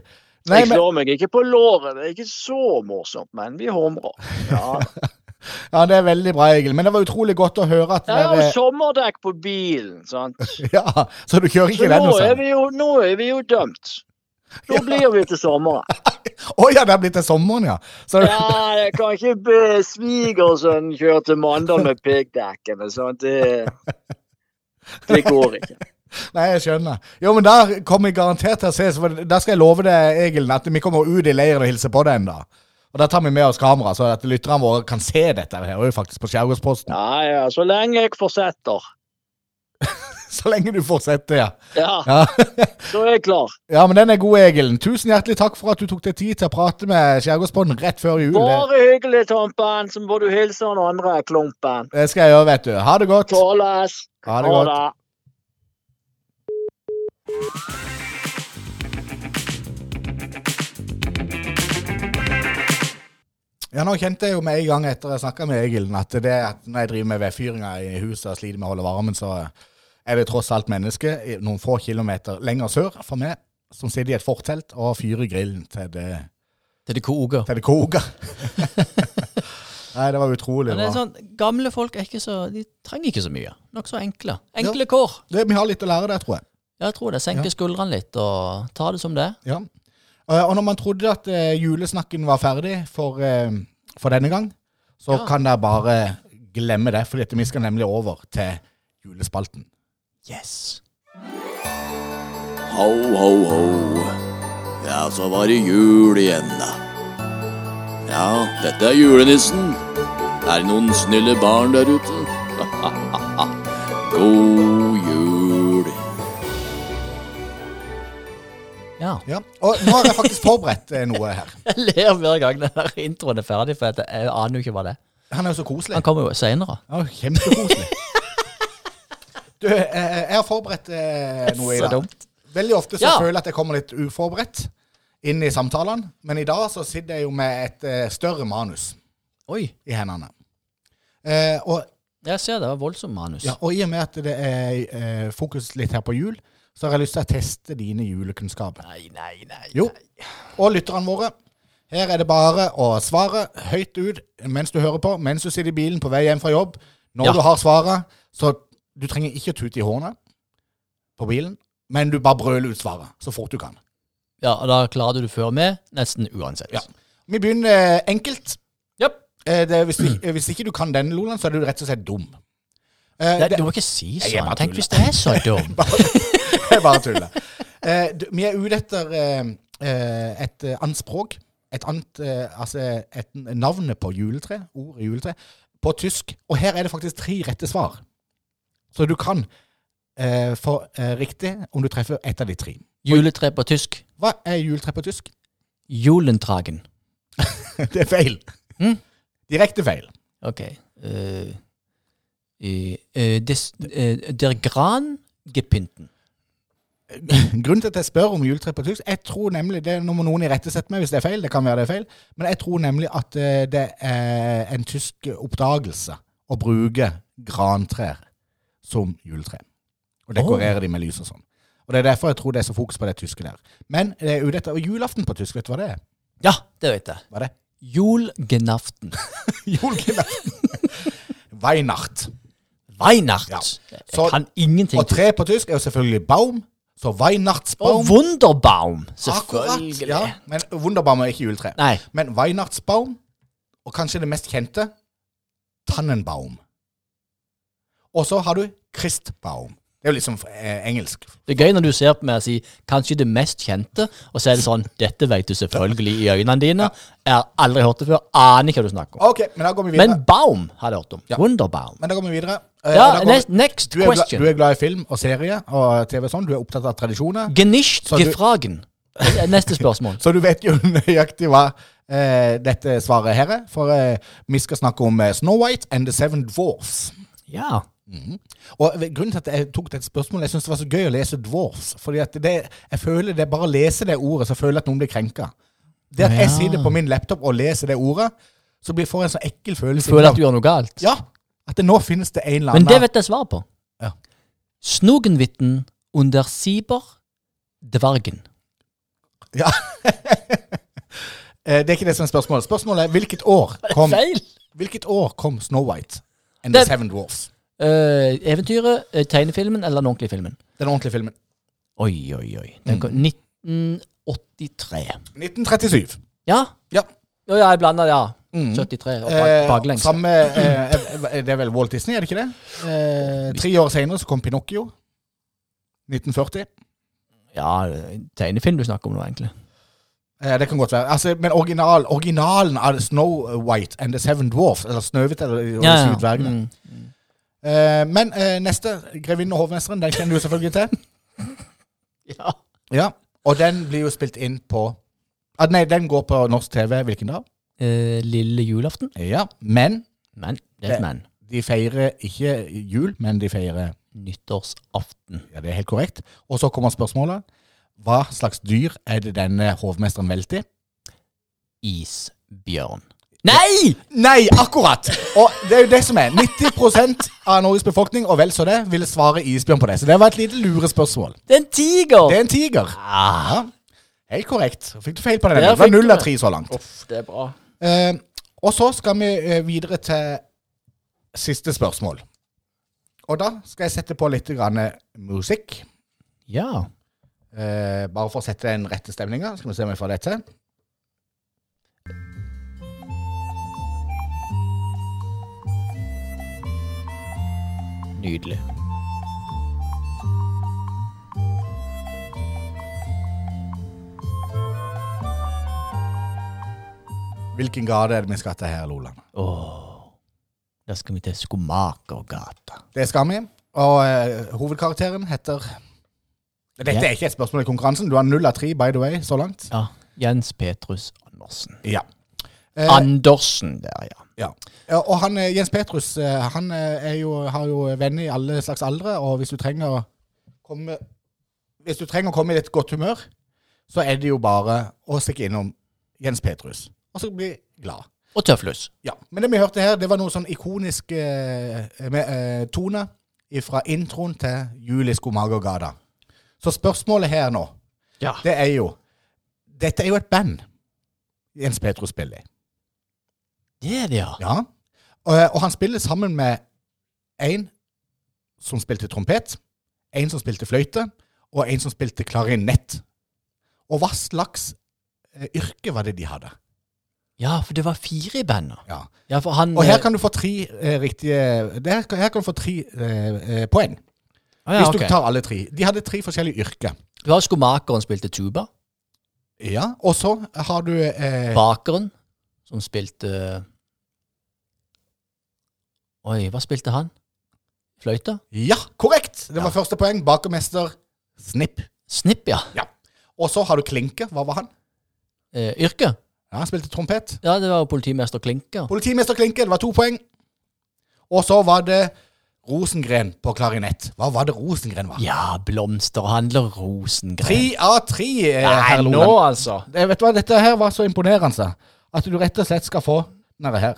Nei,
Jeg
men,
slår meg ikke på låret, det er ikke så morsomt, men vi humrer. Ja.
ja, det er veldig bra, Egil. Men det var utrolig godt å høre at
Jeg har jo
dere
sommerdekk på bilen, sant.
Ja, så du kjører
Så
ikke den
nå
hos
er
ham?
vi jo, nå er vi jo dømt. Nå blir vi til sommeren.
Å ja, det er blitt til sommeren, ja. Så,
Ja, jeg kan ikke be svigersønnen kjøre til Mandal med piggdekkene, sant. Det, det går ikke.
Nei, jeg skjønner. Jo, men da kommer jeg garantert til å ses. For da skal jeg love deg, Egil, at vi kommer ut i leiren og hilser på deg en dag. Og da tar vi med oss kamera, så at lytterne våre kan se dette her og jo faktisk på Skjærgårdsposten.
Ja, ja, så lenge jeg fortsetter.
Så lenge du fortsetter, ja.
Ja,
ja.
så er jeg klar.
Ja, men den er god, Egil. Tusen hjertelig takk for at du tok deg tid til å prate med Skjærgårdsposten rett før jul. Det-
Bare hyggelig, Tompen. Så må du hilse den andre klumpen.
Det skal jeg gjøre, vet du. Ha det godt.
Tåles.
Ha det godt. Ja, nå kjente jeg jo med en gang etter jeg snakka med Egil, at det at når jeg driver med vedfyringa i huset og sliter med å holde varmen, så er det tross alt mennesker i- noen få kilometer lenger sør for meg som sitter i et fortelt og fyrer grillen til det,
Til det koker.
til det koker. Nei, det var utrolig
Men
bra.
det er sånn, Gamle folk er ikke så, de trenger ikke så mye. Nokså enkle. Enkle kår.
Det, vi har litt å lære der, tror jeg.
Jeg tror det. Senke skuldrene litt og ta det som det. er.
Ja. Eh, Og når man trodde at eh, julesnakken var ferdig for, eh, for denne gang, så
Ja.
kan dere bare glemme det, for vi skal nemlig over til julespalten.
Yes.
Ho, ho, ho. Ja, så var det jul igjen, da. Ja, dette er julenissen. Er det noen snille barn der ute? God jul.
Ja.
Ja. Og nå har jeg faktisk forberedt eh, noe her.
Jeg ler hver gang den her introen er ferdig, for jeg jeg aner jo ikke hva det er.
Han er jo så koselig.
Han kommer jo seinere.
Ja, Kjempekoselig. Du, eh, jeg har forberedt eh, noe i
Så
dag.
dumt.
Veldig ofte så
Ja.
føler jeg at jeg kommer litt uforberedt inn i samtalene, men i dag så sitter jeg jo med et eh, større manus
Oi.
i hendene. Eh, og,
Jeg ser det var voldsomt manus.
ja, og i og med at det er eh, fokus litt her på jul, så har jeg lyst til å teste dine julekunnskaper.
Nei, nei, nei.
Jo. Og lytterne våre. Her er det bare å svare høyt ut mens du hører på, mens du sitter i bilen på vei hjem fra jobb. Når
Ja.
du har svaret, så Du trenger ikke å tute i hårene på bilen, men du bare brøler ut svaret så fort du kan.
Ja, og da klarer du det før med, nesten uansett.
Ja. Vi begynner eh, enkelt.
Japp.
Eh, Det, er hvis, du, eh, hvis ikke du kan den, Loland, så er du rett og slett dum. Eh,
Det,
det-
du må ikke si
Jeg er
sånn.
bare
Tenk
tuller.
hvis det er så dumt.
Jeg bare tuller. Eh, d- vi er ute etter eh, eh, et eh, annet språk. Et annet eh, Altså et n- navnet på juletre. Ordet juletre. På tysk. Og her er det faktisk tre rette svar. Så du kan eh, få eh, riktig om du treffer ett av de tre.
Juletre på tysk.
Hva er juletre på tysk?
Julentragen.
det er feil.
Mm.
Direkte feil.
Ok. Eh, i, eh, des, eh, der Gran gepynten.
Grunnen til at jeg spør om juletre på tysk Jeg tror nemlig, det, Nå må noen irettesette meg hvis det er feil, det kan være det er feil, men jeg tror nemlig at eh, det er en tysk oppdagelse å bruke grantrær som juletre. Og dekorere de med lys og sånn. Og Det er derfor jeg tror det er så fokus på det tyske der. Men det er jo dette, og julaften på tysk, vet du hva det er?
Ja, det vet jeg.
Hva er det?
Julgenaften.
Julaften. Weihnacht.
Weihnacht.
Ja. Så-
Jeg kan ingenting.
Og tre på tysk er jo selvfølgelig baum, så
Og
Weihnachtsbaum.
Wunderbaum.
Akkurat.
Selvfølgelig.
Ja, men Wunderbaum er ikke juletre.
Nei.
Men Weihnachtsbaum, og kanskje det mest kjente, Tannenbaum. Og så har du Christbaum. Det er jo liksom eh, engelsk.
Det er gøy når du ser på meg og sier kanskje det mest kjente, og så er det sånn Dette vet du selvfølgelig i øynene dine. Jeg har aldri hørt det før. Aner ikke hva du snakker om.
Ok, men da går vi videre.
Men Baum har jeg hørt om.
Ja.
Wunderbaum.
Men da går vi videre. Eh,
Ja,
da går vi-
next, next
du, er glad,
question.
du er glad i film og serie og TV og sånn. Du er opptatt av tradisjoner.
Genisht
Så du-
gefragen. Det er Neste spørsmål.
Så du vet jo nøyaktig hva eh, dette svaret her er. For eh, vi skal snakke om eh, Snow White and the Seven Dwarfs.
Ja.
Og v- grunnen til at jeg tok dette spørsmålet, jeg synes det var så gøy å lese dwarfs. Fordi at det, jeg føler det bare å lese det ordet, så føler jeg at noen blir krenka. Det at jeg
Ah, Ja.
sitter på min laptop og leser det ordet, så blir får jeg en så ekkel følelse.
Føler at
av-
du gjør noe galt.
Ja. At det nå finnes det en eller
Men
annen
det vet jeg svar på.
Ja.
Snogenvitten under Siber dvergen.
ja. Eh, Det er ikke det som er spørsmålet. Spørsmålet er hvilket år kom,
Feil!
hvilket år kom Snow White and the
Det-
Seven Dwarfs?
Eh, eventyret, eh, tegnefilmen eller den ordentlige filmen?
Den ordentlige filmen.
Oi, oi, oi. Den kom
Mm.
1983.
1937.
Ja?
Ja. Mm.
Ja, ja, jeg blander, ja. 73 og bak,
Eh,
baklengs.
Samme, eh, eh, det er vel Walt Disney, er det ikke det? Eh, tre år senere så kom Pinocchio. 1940.
Ja, tegnefilm du snakker om nå, egentlig.
Eh, det kan godt være. Altså, men original, originalen av Snow White and the Seven Dwarfs, eller Snøhvit eller og de syv dvergene.
Mm.
Eh, men eh, neste, Grevinnen og hovmesteren, den kjenner du selvfølgelig til.
ja.
ja. Og den blir jo spilt inn på ah, Nei, den går på norsk TV hvilken dag?
Eh, lille julaften.
Ja. Men
Men, det er
Det-
et men.
de feirer ikke jul, men de feirer
Nyttårsaften.
Ja, det er helt korrekt. Og så kommer spørsmålet. Hva slags dyr er det denne hovmesteren velter?
Isbjørn. Nei!
Nei, akkurat! Og det er jo det som er. 90 av Norges befolkning og vel så det ville svare isbjørn på det. Så det var et lite lurespørsmål.
Det er en tiger!
Det er en tiger.
Ah,
Ja, helt korrekt. Fikk du feil på den?
Der
Det var
fikk du
null av
det.
tre så langt.
Uff, det er bra.
Eh, og så skal vi eh, videre til siste spørsmål. Og da skal jeg sette på litt grann, eh, musikk.
Ja.
Eh, bare for å sette den rette stemninga. Skal vi se om jeg får det til.
Nydelig.
Hvilken gate er det vi skal til her, Loland?
Åh. Da skal vi til Skomakergata.
Det skal vi. Og eh, hovedkarakteren heter Dette
Ja.
er ikke et spørsmål i konkurransen. Du har null av tre, by the way, så langt.
Ja. Jens Petrus Andersen.
Ja. Eh,
Andersen der, ja.
ja. Eh, Og han, eh, Jens Petrus eh, han eh, er jo, har jo venner i alle slags aldre, og hvis du trenger å komme Hvis du trenger å komme i litt godt humør, så er det jo bare å stikke innom Jens Petrus, og så bli glad.
Og Tøflus.
Ja, men det vi hørte her, det var noe sånn ikonisk eh, med, eh, tone fra introen til Julie Skomagergata. Så spørsmålet her nå,
Ja.
det er jo Dette er jo et band Jens Petro spiller i.
Det er det, ja.
eh, Ja. Og, og han spiller sammen med en som spilte trompet, en som spilte fløyte, og en som spilte klarinett. Og hva slags eh, yrke var det de hadde?
Ja, for det var fire i bandet.
Ja.
Ja, for han
Og
eh,
her kan du få tre eh, riktige det her, kan- her kan du få tre eh, eh, poeng.
ah, ja,
Hvis
ok.
du tar alle tre. De hadde tre forskjellige yrker.
Det var skomakeren spilte tuba.
Ja, og så har du eh,
Bakeren, som spilte eh, Oi, hva spilte han? Fløyte?
Ja, korrekt! Det var
Ja.
første poeng. Bakermester Snipp.
Snipp, ja.
Og så har du Klinke. Hva var han?
Eh, yrke?
Ja, Han spilte trompet.
Ja, det var jo politimester Klinker.
Politimester Klinke, det var to poeng. Og så var det Rosengren på klarinett. Hva var det Rosengren var?
Ja, blomsterhandler Rosengren.
Tre av tre, eh, herr
Nei, nå
Loven.
altså.
Det- Eh, Vet du hva, dette her var så imponerende at du rett og slett skal få denne her.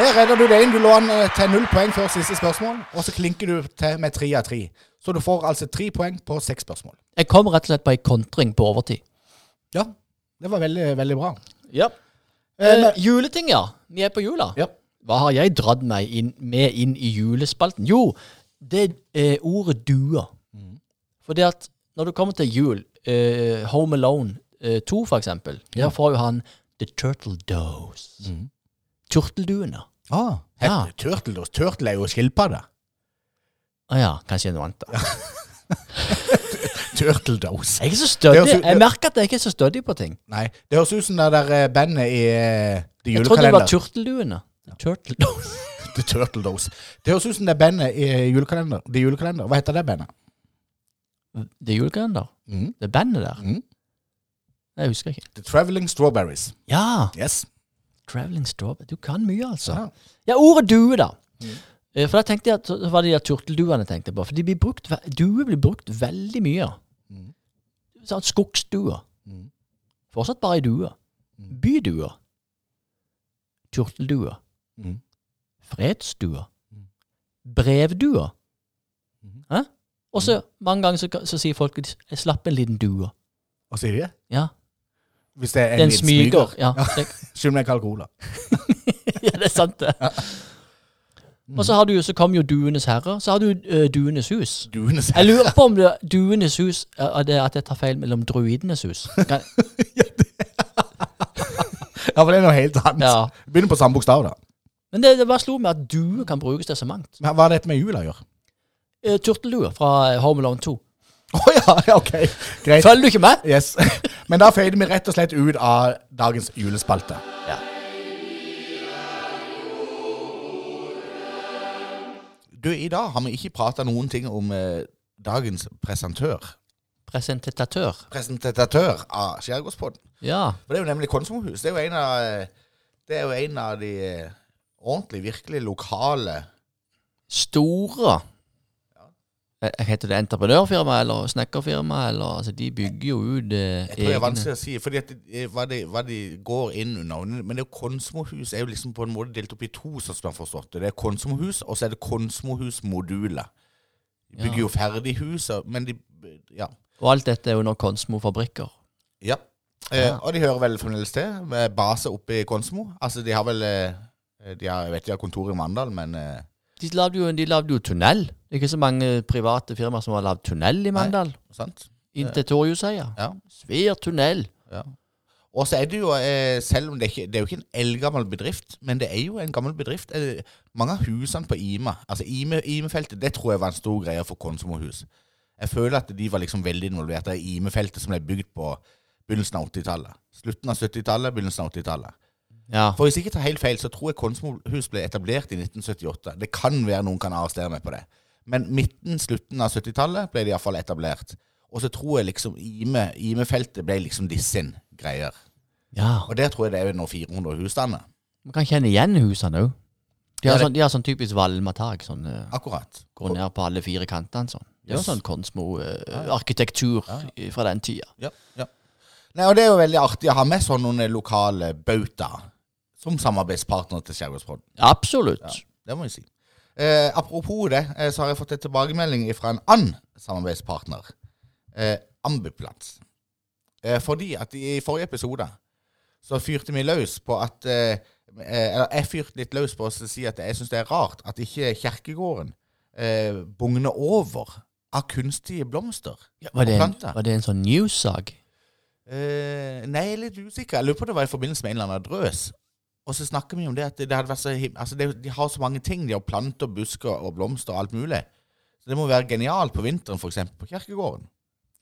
Her redder du deg inn. Du lå an eh, til null poeng før siste spørsmål, og så klinker du til med tre av tre. Så du får altså tre poeng på seks spørsmål.
Jeg kom rett og slett på ei kontring på overtid.
Ja, det var veldig, veldig bra.
Ja.
Eh,
Eh, juleting, ja. Vi er på jula.
Ja.
Hva har jeg dratt meg inn, med inn i julespalten? Jo, det er ordet duer. Fordi at når du kommer til jul, eh, Home Alone eh, 2 for eksempel, der får jo han The Turtle Does. Turtelduene.
ah,
Ja.
het- Turtle, da. turtle er jo skilpadde.
Å Ah, ja, kanskje noe annet. da.
Turtle Dose.
Jeg er ikke så
Det
stødig.
høres ut-
Jeg merker at jeg ikke er så stødig på ting.
Nei, det høres ut som det der eh, bandet i eh, The
Jeg trodde det var
Julekalender.
turtelduene. The Turtle Does.
The Turtle Dose. Det høres ut som det bandet i eh, Julekalender. The Julekalender. Hva heter det bandet?
Det er julekalender.
Mhm.
Det er bandet der.
Mhm.
Nei, Jeg husker ikke.
The Traveling Strawberries.
Ja!
Yes.
Traveling Strawberry. Du kan mye, altså.
Ja.
Ja, ordet due, da. Eh, For da tenkte jeg at så var det de der turtelduene jeg tenkte på. For de blir brukt, ve- due blir brukt veldig mye.
Mhm.
Sånn skogsdue.
Mhm.
Fortsatt bare ei due. Bydue. Turteldue.
Mhm.
Fredsdue.
Mhm.
Brevdue.
Mhm.
Hæ? Og så mange ganger så, så sier folk at jeg slapp en liten due.
Hva sier de?
Ja.
Hvis det er en,
Den
liten
smyger. Ja, det,
Skyld meg kalkola.
ja, det er sant, det. Og så, har du, så kom jo Duenes herre. Så har du eh, Duenes hus.
Duenes
Jeg lurer på om det er Duenes hus er er det at jeg tar feil mellom Druidenes hus. Kan,
Ja, for det er noe helt annet.
Ja.
Begynner på samme bokstav, da.
men det, det bare slo meg at due kan brukes til så mangt.
Men hva har dette med jula å gjøre?
Uh, Turteldue fra Home Alone 2.
Å ja, ja, ok. Greit.
Følger du ikke med?
Yes. Men da feider vi rett og slett ut av dagens julespalte.
Ja.
Du, i dag har vi ikke prata noen ting om eh, dagens presentør.
Presentatør.
Presentatør av Skjærgårdspodden.
Ja.
For det er jo nemlig Konsumhus. Det er jo en av, eh, det er jo en av de eh, ordentlig, virkelig lokale
Store Eh, Heter det entreprenørfirma eller snekkerfirma? Eller, altså, de bygger jo ut eh,
Jeg tror det er
egne
vanskelig å si, fordi at det, hva, de, hva de går inn under. Men det er jo Konsmohus er jo liksom på en måte delt opp i to, sånn som jeg har forstått det. Det er Konsmohus, og så er det Konsmohus-moduler. De bygger jo ferdig hus, og- men de Ja.
Og alt dette er under Konsmo fabrikker.
ja. Eh, og de hører vel fremdeles til, med base oppe i Konsmo. Altså, de har vel eh, de har, Jeg vet de har kontor i Mandal, men eh,
De lagde jo, de lagde jo tunnel. Det er ikke så mange eh, private firmaer som har lagd tunnel i Mandal.
Sant?
Inn til Torjuseia.
Eh. Ja.
Svær tunnel.
ja. Og så er det jo, eh, selv om det ikke det er jo ikke en eldgammel bedrift, men det er jo en gammel bedrift. Eh, mange av husene på Ima, altså Ime, Imefeltet, det tror jeg var en stor greie for Konsumohus. Jeg føler at de var liksom veldig involvert i Imefeltet, som ble bygd på begynnelsen av 80-tallet. Slutten av 70-tallet, begynnelsen av 80-tallet.
Ja.
For hvis jeg ikke tar helt feil, så tror jeg Konsumohus ble etablert i 1978. Det kan være noen kan arrestere meg på det. Men midten, slutten av 70-tallet ble det iallfall etablert. Og så tror jeg liksom Ime, Imefeltet ble liksom de sin greier.
ja.
Og der tror jeg det er noen 400 husstander.
Man kan kjenne igjen husene òg. De,
Ja,
har
det-
sånn, de har sånn typisk valmatak. Sånn, eh,
Akkurat.
går ned på alle fire kantene. Sånn. Det er
Yes.
jo sånn Konsmo-arkitektur fra den tida.
Ja, ja. Nei, og det er jo veldig artig å ha med sånne noen lokale bautaer som samarbeidspartner til Skjærgårdspodden.
Absolutt.
Det må jeg si. Eh, apropos det, eh, så har jeg fått en tilbakemelding fra en annen samarbeidspartner. Eh, Ambuplans. Eh, fordi at i forrige episode så fyrte vi løs på at eh, eh, eller jeg fyrte litt løs på å si at jeg syns det er rart at ikke kirkegården eh, bugner over av kunstige blomster
Var
og
det, en,
planter.
var det en sånn news-sak?
Eh, nei, jeg er litt usikker. Jeg lurer på om det var i forbindelse med en eller annen drøs. Og så snakker vi om det at det hadde vært så him- altså det, De har så mange ting. De har planter, busker og blomster og alt mulig. Så det må være genialt på vinteren, f.eks. på kirkegården.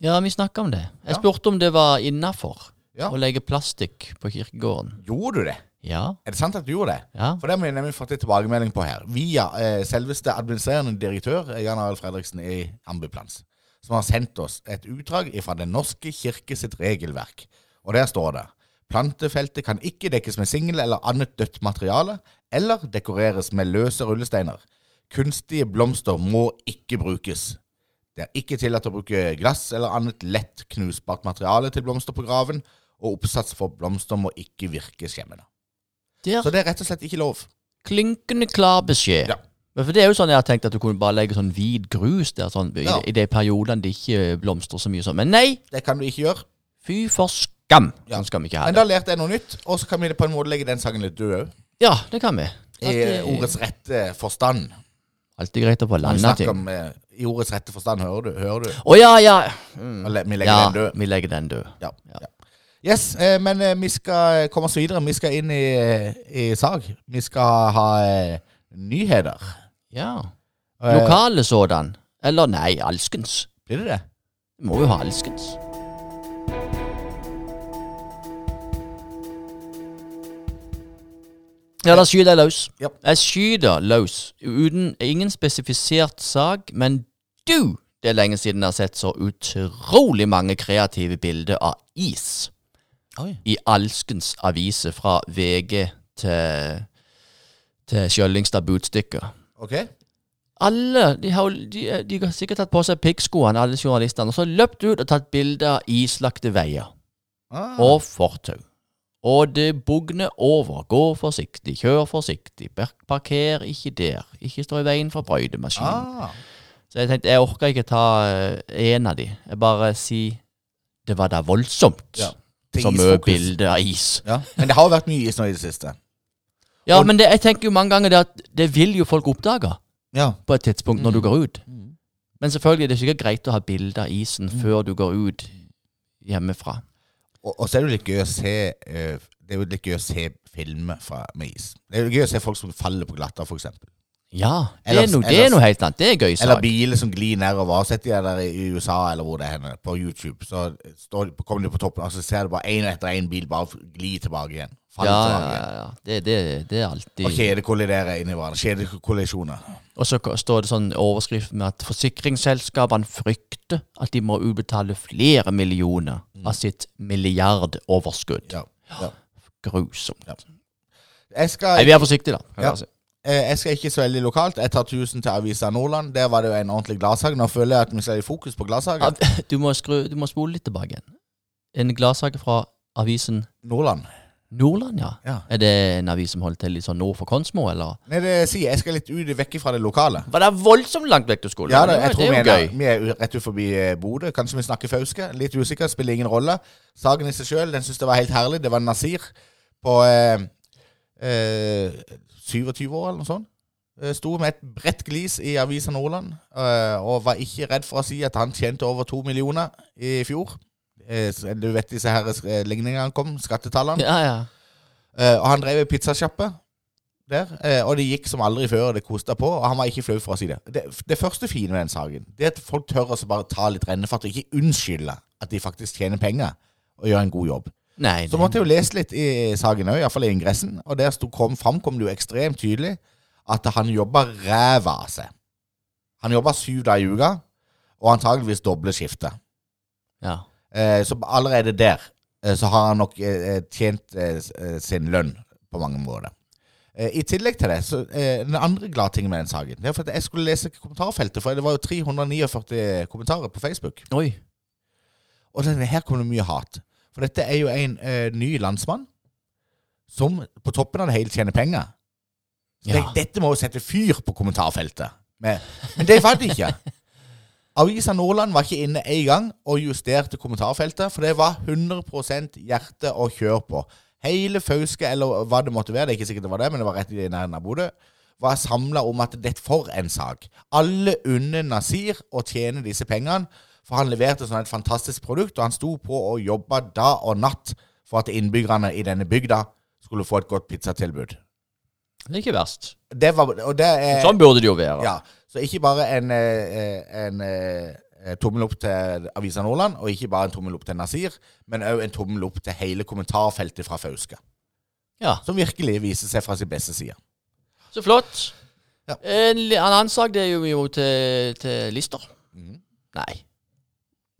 Ja, vi snakka om det. Jeg
Ja.
spurte om det var innafor
Ja.
å legge plastikk på kirkegården.
Gjorde du det?
Ja.
Er det sant at du gjorde det?
ja.
For det har vi nemlig fått en tilbakemelding på her. Via eh, selveste administrerende direktør eh, Jan Arild Fredriksen i Ambuplans. Som har sendt oss et utdrag fra Den norske kirke sitt regelverk. Og der står det Plantefeltet kan ikke dekkes med singel eller annet dødt materiale, eller dekoreres med løse rullesteiner. Kunstige blomster må ikke brukes. Det er ikke tillatt å bruke glass eller annet lett knusbart materiale til blomster på graven, og oppsats for blomster må ikke virke skjemmende.
Der
Så det er rett og slett ikke lov.
klinkende klar beskjed.
Ja.
Men for det er jo sånn jeg har tenkt at du kunne bare legge sånn hvit grus der sånn, i,
Ja.
i de periodene det ikke blomstrer så mye sånn. Men nei!
Det kan du ikke gjøre.
Fy for skam!
Ja.
Sånn skal vi ikke ha
Men da
det.
lærte jeg noe nytt, og så kan vi på en måte legge den sangen litt død òg.
Ja, det kan vi. At
I
det er
ordets rette forstand.
Alltid greit å få
Vi
landa
snakker
ting.
om eh, I ordets rette forstand, hører du? Hører du?
Å ja, ja. Mm.
Og le- Vi legger
Ja,
den død.
vi legger den død.
Ja.
Ja.
Ja. Yes, eh, men eh, vi skal komme oss videre. Vi skal inn i, eh, i sag. Vi skal ha eh, nyheter.
Ja.
Eh,
Lokale sådan. Eller nei, alskens.
Blir det det?
Vi må jo ha alskens. Ja, da skyter jeg løs.
Ja.
Jeg skyter løs uten ingen spesifisert sak, men du, det er lenge siden jeg har sett så utrolig mange kreative bilder av is
Oi.
i alskens aviser fra VG til, til Skjøllingstad Budstykker.
OK?
Alle de har, jo- de, de har sikkert tatt på seg piggskoene, alle journalistene, og så løpt ut og tatt bilder av islagte veier
Ah.
og fortau. Og det bugner over. Gå forsiktig, kjør forsiktig, park- parker ikke der, ikke stå i veien for brøytemaskinen.
Ah.
Så jeg tenkte, jeg orker ikke ta én av de. Jeg bare sier det var da voldsomt.
Ja. Til
Så mye
isfokus.
bilder av is.
Ja. Men det har vært mye is nå i det siste.
Ja,
Og-
men det, jeg tenker jo mange ganger det at det vil jo folk oppdage
Ja.
på et tidspunkt når du går ut.
Mm.
Men selvfølgelig er det sikkert greit å ha bilde av isen før du går ut hjemmefra.
Og, og så er det jo litt gøy å se eh, Det er jo litt gøy å se filmer fra, med is. Det er jo gøy å se folk som faller på glatta, for eksempel.
Ja, det
Ellers-
er, noe, det er
ellers-
noe helt annet. Det er gøy
Eller
sak.
biler som glir nedover. Har Sett de der i USA eller hvor det er henne, på YouTube. Så står, de- kommer de på toppen, og så ser du bare én etter én bil bare gli tilbake igjen.
Ja,
Falle
ja,
tilbake igjen.
ja. Det, det, det er alltid
Og kjedekollidere inni hverandre. Kjedekollisjoner.
Og så k- står det sånn overskrift med at forsikringsselskapene frykter at de må utbetale flere millioner av sitt milliardoverskudd.
Mm. Ja. ja.
Grusomt.
Jeg
Nei,
skal,
vi er forsiktige, da.
Ja. eh, jeg skal ikke så veldig lokalt. Jeg tar 1000 til Avisa Nordland. Der var det jo en ordentlig gladsak. Nå føler jeg at vi skal i fokus på
Ja,
gladsaken.
Du, må skru, du må spole litt tilbake igjen. En gladsak fra avisen
Nordland.
Nordland, ja.
Ja.
Er det en avis som holder til litt sånn nord for Konsmo, eller?
Nei, det sier jeg. Jeg skal litt ut vekk fra det lokale.
Var det voldsomt langt vekk du skulle?
Ja,
Men
da, jeg
var-
tror vi
det
er,
er jo gøy.
vi er rett ut forbi eh, Bodø. Kanskje vi snakker fauske. Litt usikker, spiller ingen rolle. Saken i seg sjøl, den syns jeg var helt herlig. Det var Nasir på eh, eh, 27 år eller noe sånt. Eh, Sto med et bredt glis i Avisa Nordland eh, og var ikke redd for å si at han tjente over to millioner i fjor. Eh, så Du vet disse her eh, ligningene kom, skattetallene.
Ja, ja.
Eh, og han drev en pizzasjappe der, eh, og det gikk som aldri før. Det kosta på, og han var ikke flau for å si det. det. Det første fine med den saken, det er at folk tør å bare ta litt rennefart og ikke unnskylde at de faktisk tjener penger og gjør en god jobb.
Nei,
Så måtte jeg jo lese litt i saken òg, iallfall i ingressen, og der sto, kom, framkom det jo ekstremt tydelig at han jobba ræva av seg. Han jobba syv dager i uka, og antageligvis doble skiftet.
ja.
Eh, så allerede der eh, så har han nok eh, eh, tjent eh, s- eh, sin lønn på mange måter. Eh, I tillegg til det, så eh, den andre glade tingen med den saken Det er for at jeg skulle lese kommentarfeltet, for det var jo 349 kommentarer på Facebook.
Oi.
Og denne her kom det mye hat. For dette er jo en eh, ny landsmann som på toppen av det hele tjener penger. Så
Ja.
tenk, dette må jo sette fyr på kommentarfeltet. Men, men det var det ikke. Avisa Nordland var ikke inne en gang og justerte kommentarfeltet, for det var 100 hjerte og kjør på. Hele Fauske, eller hva det måtte være, det er ikke sikkert det var det, men det var rett i nærheten av Bodø, var samla om at det er for en sak. Alle unner Nasir å tjene disse pengene, for han leverte sånn et fantastisk produkt, og han sto på og jobba dag og natt for at innbyggerne i denne bygda skulle få et godt pizzatilbud.
Det er ikke verst.
Det var, og det er
Sånn burde det jo være.
Eh, ja, Så ikke bare en, eh, en eh, tommel opp til Avisa Nordland, og ikke bare en tommel opp til Nasir, men òg en tommel opp til hele kommentarfeltet fra Fauske.
Ja.
Som virkelig viser seg fra sin beste side.
Så flott.
Ja.
En, li- en annen sak det er jo, jo til, til lister. Nei.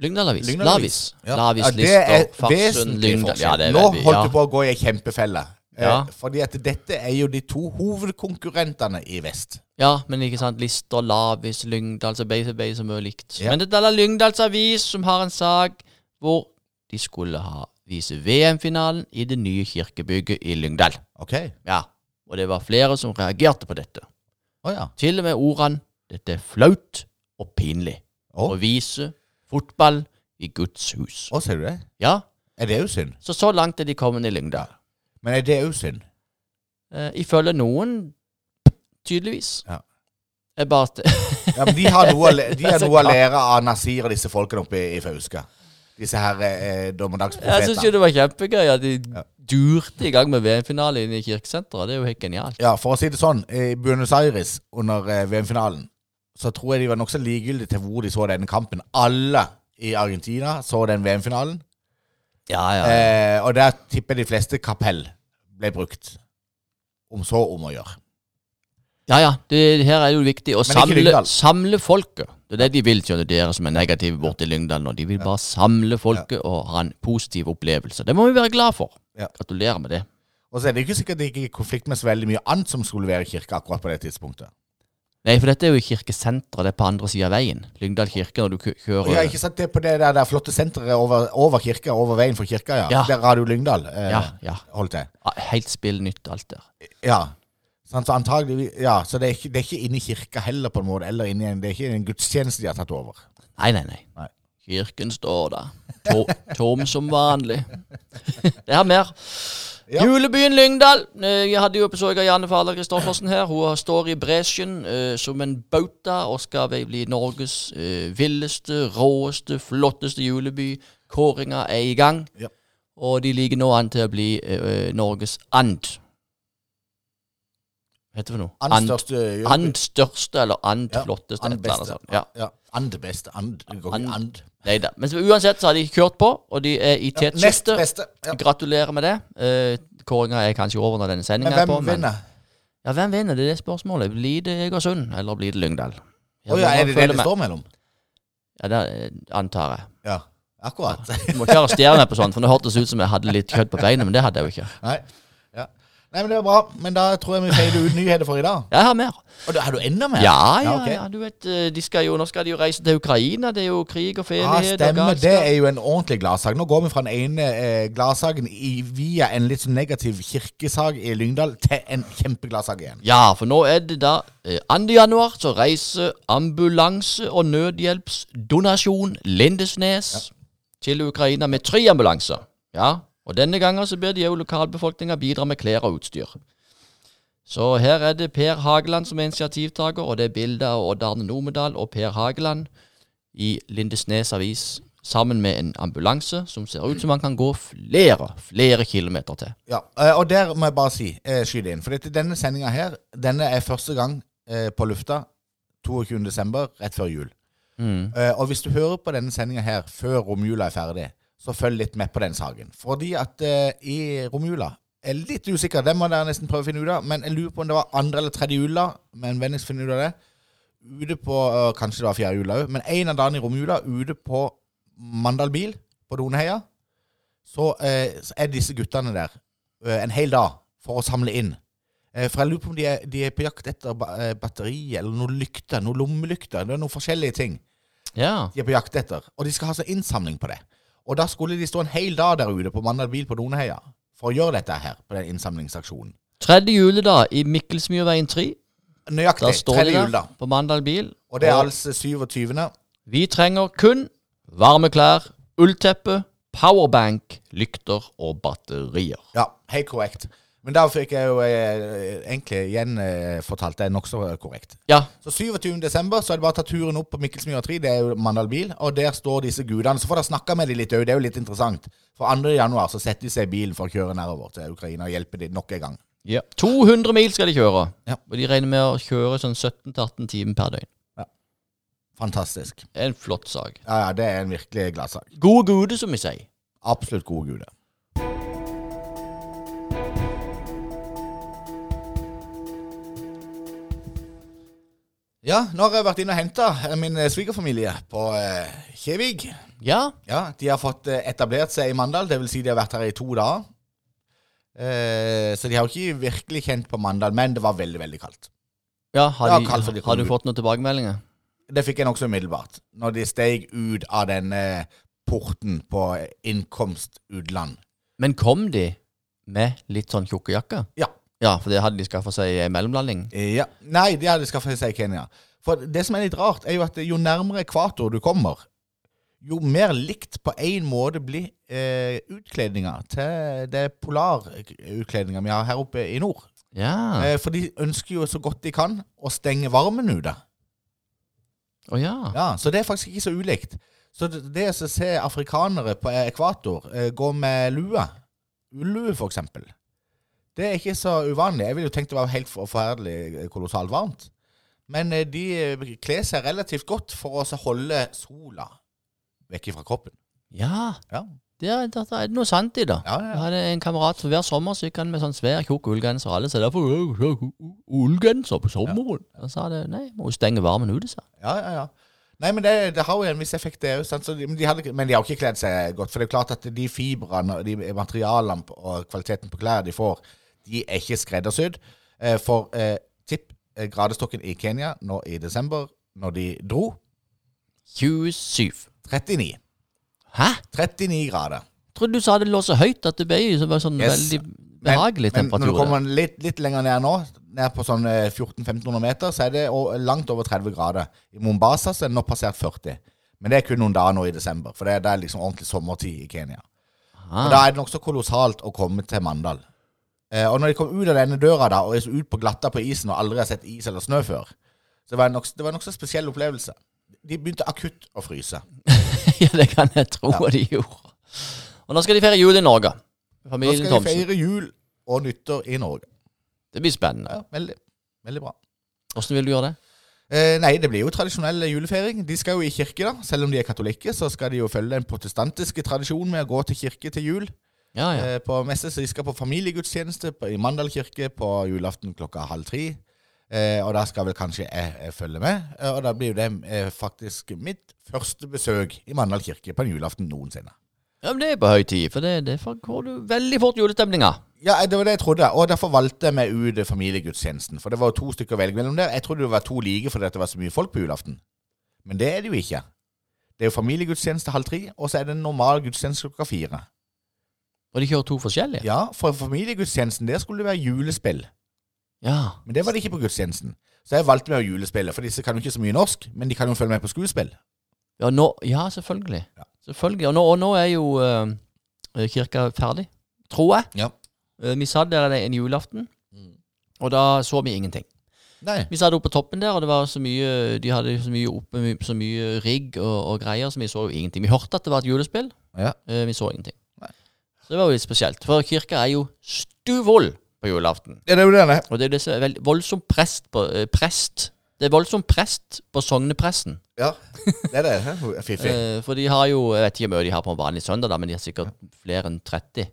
Lyngdal Avis.
Mm. Lyngdal
Lavis.
Ja.
Lavis,
Ja,
Lister, Farsund,
vesentlig
Lyngdal.
forskjell.
Ja, det er
Nå
veldig,
holdt
ja.
du på å gå i ei kjempefelle. Eh,
Ja.
Fordi at dette er jo de to hovedkonkurrentene i vest.
ja, men ikke sant. Lister, Lavis, Lyngdal, så begge begge så mye likt.
Ja.
Men det er Lyngdals Avis som har en sak hvor de skulle ha vise VM-finalen i det nye kirkebygget i Lyngdal.
Ok? Å
Ja. Og det var flere som reagerte på dette.
ja.
Til og med ordene 'dette er flaut og pinlig'
Å,
å vise fotball i Guds hus.
å, ser du det?
Ja,
Er det òg synd?
så så langt er de kommet i Lyngdal.
Men er det òg synd?
Eh, ifølge noen, tydeligvis.
Ja.
Jeg bare st-
Ja, men de har noe, å le- de har
så
noe å
klart.
lære av Nasir og disse folkene oppe i, i Fauske. Disse her eh,
Jeg syns jo
dommedagsprofetene.
det var kjempegøy at de
Ja.
durte i gang med VM-finale inne i kirkesenteret. Det er jo helt genialt.
Ja, for å si det sånn, i Buenos Aires under eh, VM-finalen, så tror jeg de var nokså likegyldige til hvor de så denne kampen. Alle i Argentina så den VM-finalen.
Ja, ja.
Eh, og der tipper de fleste kapell ble brukt. Om så om å gjøre.
ja, ja. Det her er jo viktig å
Men ikke
samle,
Lyngdal.
samle folket. Det er det de vil, skjønner dere som er negative borte i Lyngdal nå. De vil bare samle folket og ha en positiv opplevelse. Det må vi være glad for.
Ja.
Gratulerer med det.
Og så er det jo ikke sikkert det gikk i konflikt med så veldig mye annet som skulle være i kirka akkurat på det tidspunktet.
Nei, for dette er jo i kirkesenteret, det er på andre sida av veien. Lyngdal kirke, når du kø-
Og
kjører
jeg har ikke sett det på det der, der flotte senteret over, over kirka, over veien for kirka, ja.
Ja.
Der Radio Lyngdal eh,
Ja, ja.
holdt til.
Ja, Helt spill nytt, alt der.
Ja. Sånn, så antageligvis, ja, så det er, ikke, det er ikke inne i kirka heller, på en måte. Eller inne i en, det er ikke en gudstjeneste de har tatt over.
Nei, nei, nei.
Nei.
Kirken står der. To tom som vanlig. det er mer.
Ja.
Julebyen Lyngdal. Eh, Jeg hadde jo besøk av Janne Fahler Kristoffersen her. Hun står i bresjen eh, som en bauta og skal vel bli Norges eh, villeste, råeste, flotteste juleby. Kåringa er i gang,
Ja.
og de ligger nå an til å bli eh, Norges and. Hva heter det for noe?
And største eh,
and største, eller and
Ja,
flotteste.
and
et eller annet
beste.
sånt. Ja.
Ja. And beste. And. Det går ikke and.
Neida. Men så- uansett så har de kjørt på, og de er i
Nest
tetskiftet.
beste. Ja.
Gratulerer med det. Eh, Kåringa er kanskje over når denne
Men
sendinga er
hvem
på.
vinner?
Ja, hvem vinner? Det er det spørsmålet. Blir det Egersund, eller blir det Lyngdal?
Å ja, er det det
følger
det
med.
står mellom?
Ja, det eh, antar jeg.
Ja, akkurat.
Du må ikke arrestere meg på sånt, for nå hørtes det ut som jeg hadde litt kjøtt på beinet, men det hadde jeg jo ikke.
Nei. Ja. Nei, men det var bra. Men da tror jeg vi feirer ut nyheter for i dag.
Jeg har mer.
Og da har du enda mer?
Ja, ja,
ok.
ja. Du vet, eh, de skal jo, nå skal de jo reise til Ukraina. Det er jo krig og
Ja,
feriehet og
Ah, stemmer. Det
galskap.
er jo en ordentlig gladsak. Nå går vi fra den ene eh, gladsaken i- via en litt sånn negativ kirkesak i Lyngdal til en kjempegladsak igjen.
Ja, for nå er det da eh, 2. januar, så reiser ambulanse- og nødhjelpsdonasjon Lindesnes til Ukraina med tre ambulanser. Ja, og denne gangen så ber de jo lokalbefolkninga bidra med klær og utstyr. Så her er det Per Hageland som er initiativtaker, og det er bilde av Odd Arne Nomedal og Per Hageland i Lindesnes avis sammen med en ambulanse som ser ut som man kan gå flere, flere kilometer til.
Ja, eh, Og der må jeg bare si, eh, skyte inn, for dette, denne sendinga her, denne er første gang eh, på lufta 22. desember, rett før jul.
Mm.
Eh, og hvis du hører på denne sendinga her før romjula er ferdig, så følg litt med på den saken. Fordi at eh, i romjula jeg er litt usikker, det må dere nesten prøve å finne ut av. Men jeg lurer på om det var andre eller tredje jula. Men vennligst finn ut av det. Ute på eh, Kanskje det var fjerde jula òg, men en av dagene i romjula ute på Mandal bil på Doneheia, så, eh, så er disse guttene der eh, en hel dag for å samle inn. Eh, For jeg lurer på om de er, de er på jakt etter ba- eh, batteri eller noen lykter, noen lommelykter. Det er noen forskjellige ting
Ja.
de er på jakt etter, og de skal ha så innsamling på det. Og da skulle de stå en hel dag der ute på Mandal bil på Doneheia for å gjøre dette her, på den innsamlingsaksjonen.
Tredje juledag i Mikkelsmyrveien 3.
Nøyaktig.
Da står
Tredje
de
jul, da.
der på Mandal bil.
Og det er altså 27.
Vi trenger kun varme klær, ullteppe, powerbank, lykter og batterier.
Ja, helt korrekt. Men da fikk jeg jo eh, egentlig gjenfortalt det nokså korrekt.
Ja,
Så 27. desember så er det bare å ta turen opp på Mikkelsmyra 3, det er jo Mandal bil, og der står disse gudene. Så får dere snakka med dem litt òg, det er jo litt interessant. For 2. januar så setter de seg i bilen for å kjøre nedover til Ukraina og hjelpe dem nok en gang.
ja. 200 mil skal de kjøre.
Ja.
Og de regner med å kjøre sånn 17-18 timer per døgn.
Fantastisk.
Det er en flott sak.
Ja, ja, det er en virkelig gladsak.
Gode gude, som vi sier.
Absolutt gode guder. Ja, nå har jeg vært inne og henta min eh, svigerfamilie på eh, Kjevik.
Ja,
Ja, De har fått eh, etablert seg i Mandal, dvs. Si de har vært her i to dager. Eh, så de har jo ikke virkelig kjent på Mandal, men det var veldig veldig kaldt.
ja
Ja,
har, de,
kall for de kom
har du
ut.
fått noen tilbakemeldinger?
Det fikk jeg nokså umiddelbart. Når de steg ut av denne porten på eh, innkomst utland.
Men kom de med litt sånn tjukke jakker?
Ja.
Ja, for det hadde de skaffa seg en mellomlanding.
Ja. Nei, de hadde skaffa seg Kenya. For det som er litt rart, er jo at jo nærmere ekvator du kommer, jo mer likt på én måte blir eh, utkledninga til det polarutkledninga vi har her oppe i nord.
Ja.
Eh, for de ønsker jo så godt de kan å stenge varmen ute.
Å ja.
Ja, så det er faktisk ikke så ulikt. Så det det å se afrikanere på ekvator eh, gå med lue, ullue for eksempel, det er ikke så uvanlig. Jeg ville jo tenkt det var helt for- forferdelig eh, kolossalt varmt. Men eh, de eh, kler seg relativt godt for å så holde sola vekk fra kroppen.
Ja.
Ja.
Det er, det er det noe sant i, da.
Ja, ja, ja.
Jeg hadde en kamerat som hver sommer så gikk han med sånn svær, tjukk ullgenser. og Alle sa derfor «Øh, øh, øh, ullgenser på sommeren. Og så sa det nei, må jo stenge varmen ute, sa han.
Ja, ja, ja. Nei, men det, det har jo en viss effekt, det òg. Men, de hadde ikke- men de har jo ikke kledd seg godt. For det er jo klart at de fibrene og de materialene på- og kvaliteten på klær de får, de er ikke skreddersydd. Eh, For eh, tipp eh, gradestokken i Kenya nå i desember, når de dro
27.
39.
Hæ?
39 grader.
Trodde du sa det lå så høyt at det ble så var sånn
Yes.
veldig behagelig
men når du
temperatur. der.
kommer litt, litt lenger ned nå, ned på sånn eh, 1400-1500 meter, så er det o- langt over 30 grader. I Mombasa så er det nå passert 40. Men det er kun noen dager nå i desember, for det, det er liksom ordentlig sommertid i Kenya.
Ah.
Og da er det nokså kolossalt å komme til Mandal. Eh, og når de kom ut av denne døra da, og er så ut på glatta på isen og aldri har sett is eller snø før, så det var en nokså, det var en nokså spesiell opplevelse. De begynte akutt å fryse.
ja, det kan jeg tro at de gjorde. Og nå skal de feire jul i Norge.
Nå
Familien
skal de
Thomsen.
feire jul og nyttår i Norge.
Det blir spennende.
Ja, veldig, veldig bra.
Åssen vil du gjøre det?
Eh, nei, det blir jo tradisjonell julefeiring. De skal jo i kirke, da. Selv om de er katolikker, så skal de jo følge den protestantiske tradisjonen med å gå til kirke til jul.
Ja, ja.
Eh, på messe, så de skal på familiegudstjeneste på, i Mandal kirke på julaften klokka halv tre. Eh, og da skal vel kanskje jeg, jeg følge med. Eh, og da blir jo det eh, faktisk mitt første besøk i Mandal kirke på en julaften noensinne.
ja men Det er på høy tid, for det, det får du veldig fort julestemninga.
Ja, eh, det var det jeg trodde, og derfor valgte jeg meg ut eh, familiegudstjenesten. For det var jo to stykker å velge mellom der. Jeg trodde det var to like fordi at det var så mye folk på julaften. Men det er det jo ikke. Det er jo familiegudstjeneste halv tre, og så er det en normal gudstjeneste klokka fire.
Og de kjører to forskjellige.
Ja, for familiegudstjenesten der skulle det være julespill.
Ja.
Men det var det ikke på gudstjenesten. Så jeg valgte meg å julespille, for disse kan jo ikke så mye norsk, men de kan jo følge med på skuespill.
Ja, nå, ja selvfølgelig. Selvfølgelig. Og nå, og nå er jo eh, kirka ferdig, tror jeg.
Ja.
Eh, vi satt der en julaften,
Mm.
og da så vi ingenting.
Nei.
Vi satt oppe på toppen der, og det var så mye de hadde så mye oppe, my- så mye rigg og, og greier, så vi så jo ingenting. Vi hørte at det var et julespill,
Ja.
eh, vi så ingenting.
Nei.
Så det var jo litt spesielt, for kirka er jo stuvvoll på julaften.
Ja, det er jo det, det.
Og det er jo det som er veldig voldsomt prest på eh, prest. Det er voldsomt prest på sognepresten.
Ja, det er det. Hæ? Fiffig.
Eh, for de har jo Jeg vet ikke hvor mye de har på en vanlig søndag, da, men de har sikkert flere enn 30.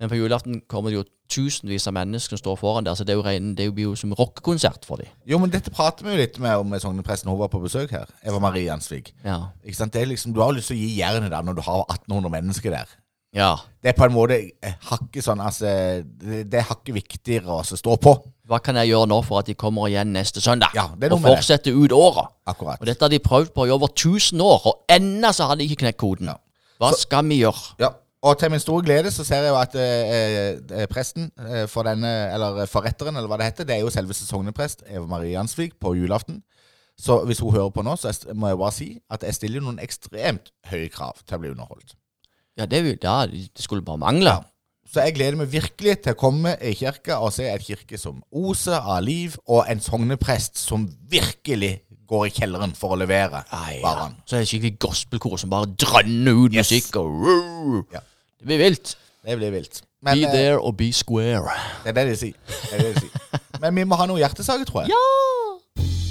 Men på julaften kommer det jo tusenvis av mennesker som står foran der, så det, er jo ren, det blir jo som rockekonsert for dem.
Jo, men dette prater vi jo litt med om med sognepresten hun var på besøk her. Eva Marie Jansvik.
Ja.
Ikke sant? Det er liksom, du har jo lyst til å gi jernet der når du har 1800 mennesker der.
ja.
Det er på en måte eh, hakket sånn, altså, det, det er hakket viktigere å altså stå på.
Hva kan jeg gjøre nå for at de kommer igjen neste søndag?
Ja, det er noe
og
med det.
fortsetter ut året?
Akkurat.
Og dette har de prøvd på i over 1000 år, og ennå så har de ikke knekt koden. Hva skal vi gjøre?
Ja, og til min store glede så ser jeg jo at eh, eh, presten eh, for denne, eller forretteren, eller hva det heter, det er jo selveste sogneprest Eva Marie Jansvik på julaften. Så hvis hun hører på nå, så er- må jeg bare si at jeg stiller jo noen ekstremt høye krav til å bli underholdt.
Ja, det, vil- ja, det skulle bare mangle.
Så jeg gleder meg virkelig til å komme i kirka og se en kirke som oser av liv, og en sogneprest som virkelig går i kjelleren for å levere varene.
Så er det skikkelig gospelkor som bare drønner ut
Yes.
musikk og rrr.
Ja.
Det blir vilt.
Det blir vilt.
Be
Men eh,
there or be square.
det er det de sier. Det er det de sier. Men vi må ha noe hjertesaker, tror jeg.